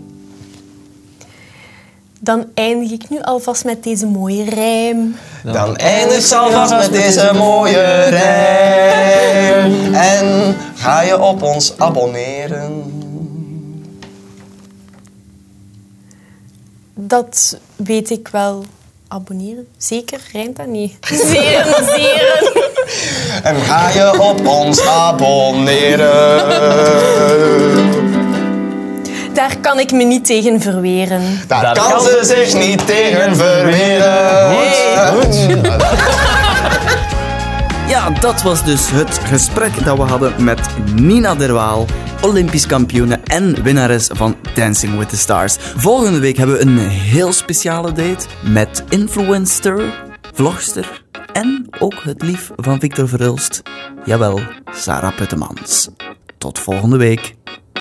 [SPEAKER 2] Dan eindig ik nu alvast met deze mooie rijm.
[SPEAKER 4] Dan eindig je alvast met deze mooie rij. En ga je op ons abonneren.
[SPEAKER 2] Dat weet ik wel. Abonneren? Zeker? Rijmt dat niet? Zeren, zeren.
[SPEAKER 4] En ga je op ons abonneren.
[SPEAKER 2] Daar kan ik me niet tegen verweren.
[SPEAKER 4] Daar
[SPEAKER 1] Daar
[SPEAKER 4] kan
[SPEAKER 1] kan
[SPEAKER 4] ze zich niet tegen verweren.
[SPEAKER 1] Goed, goed.
[SPEAKER 3] Ja, Ja, dat was dus het gesprek dat we hadden met Nina Derwaal, Olympisch kampioene en winnares van Dancing with the Stars. Volgende week hebben we een heel speciale date met influencer, vlogster en ook het lief van Victor Verhulst. Jawel, Sarah Puttemans. Tot volgende week.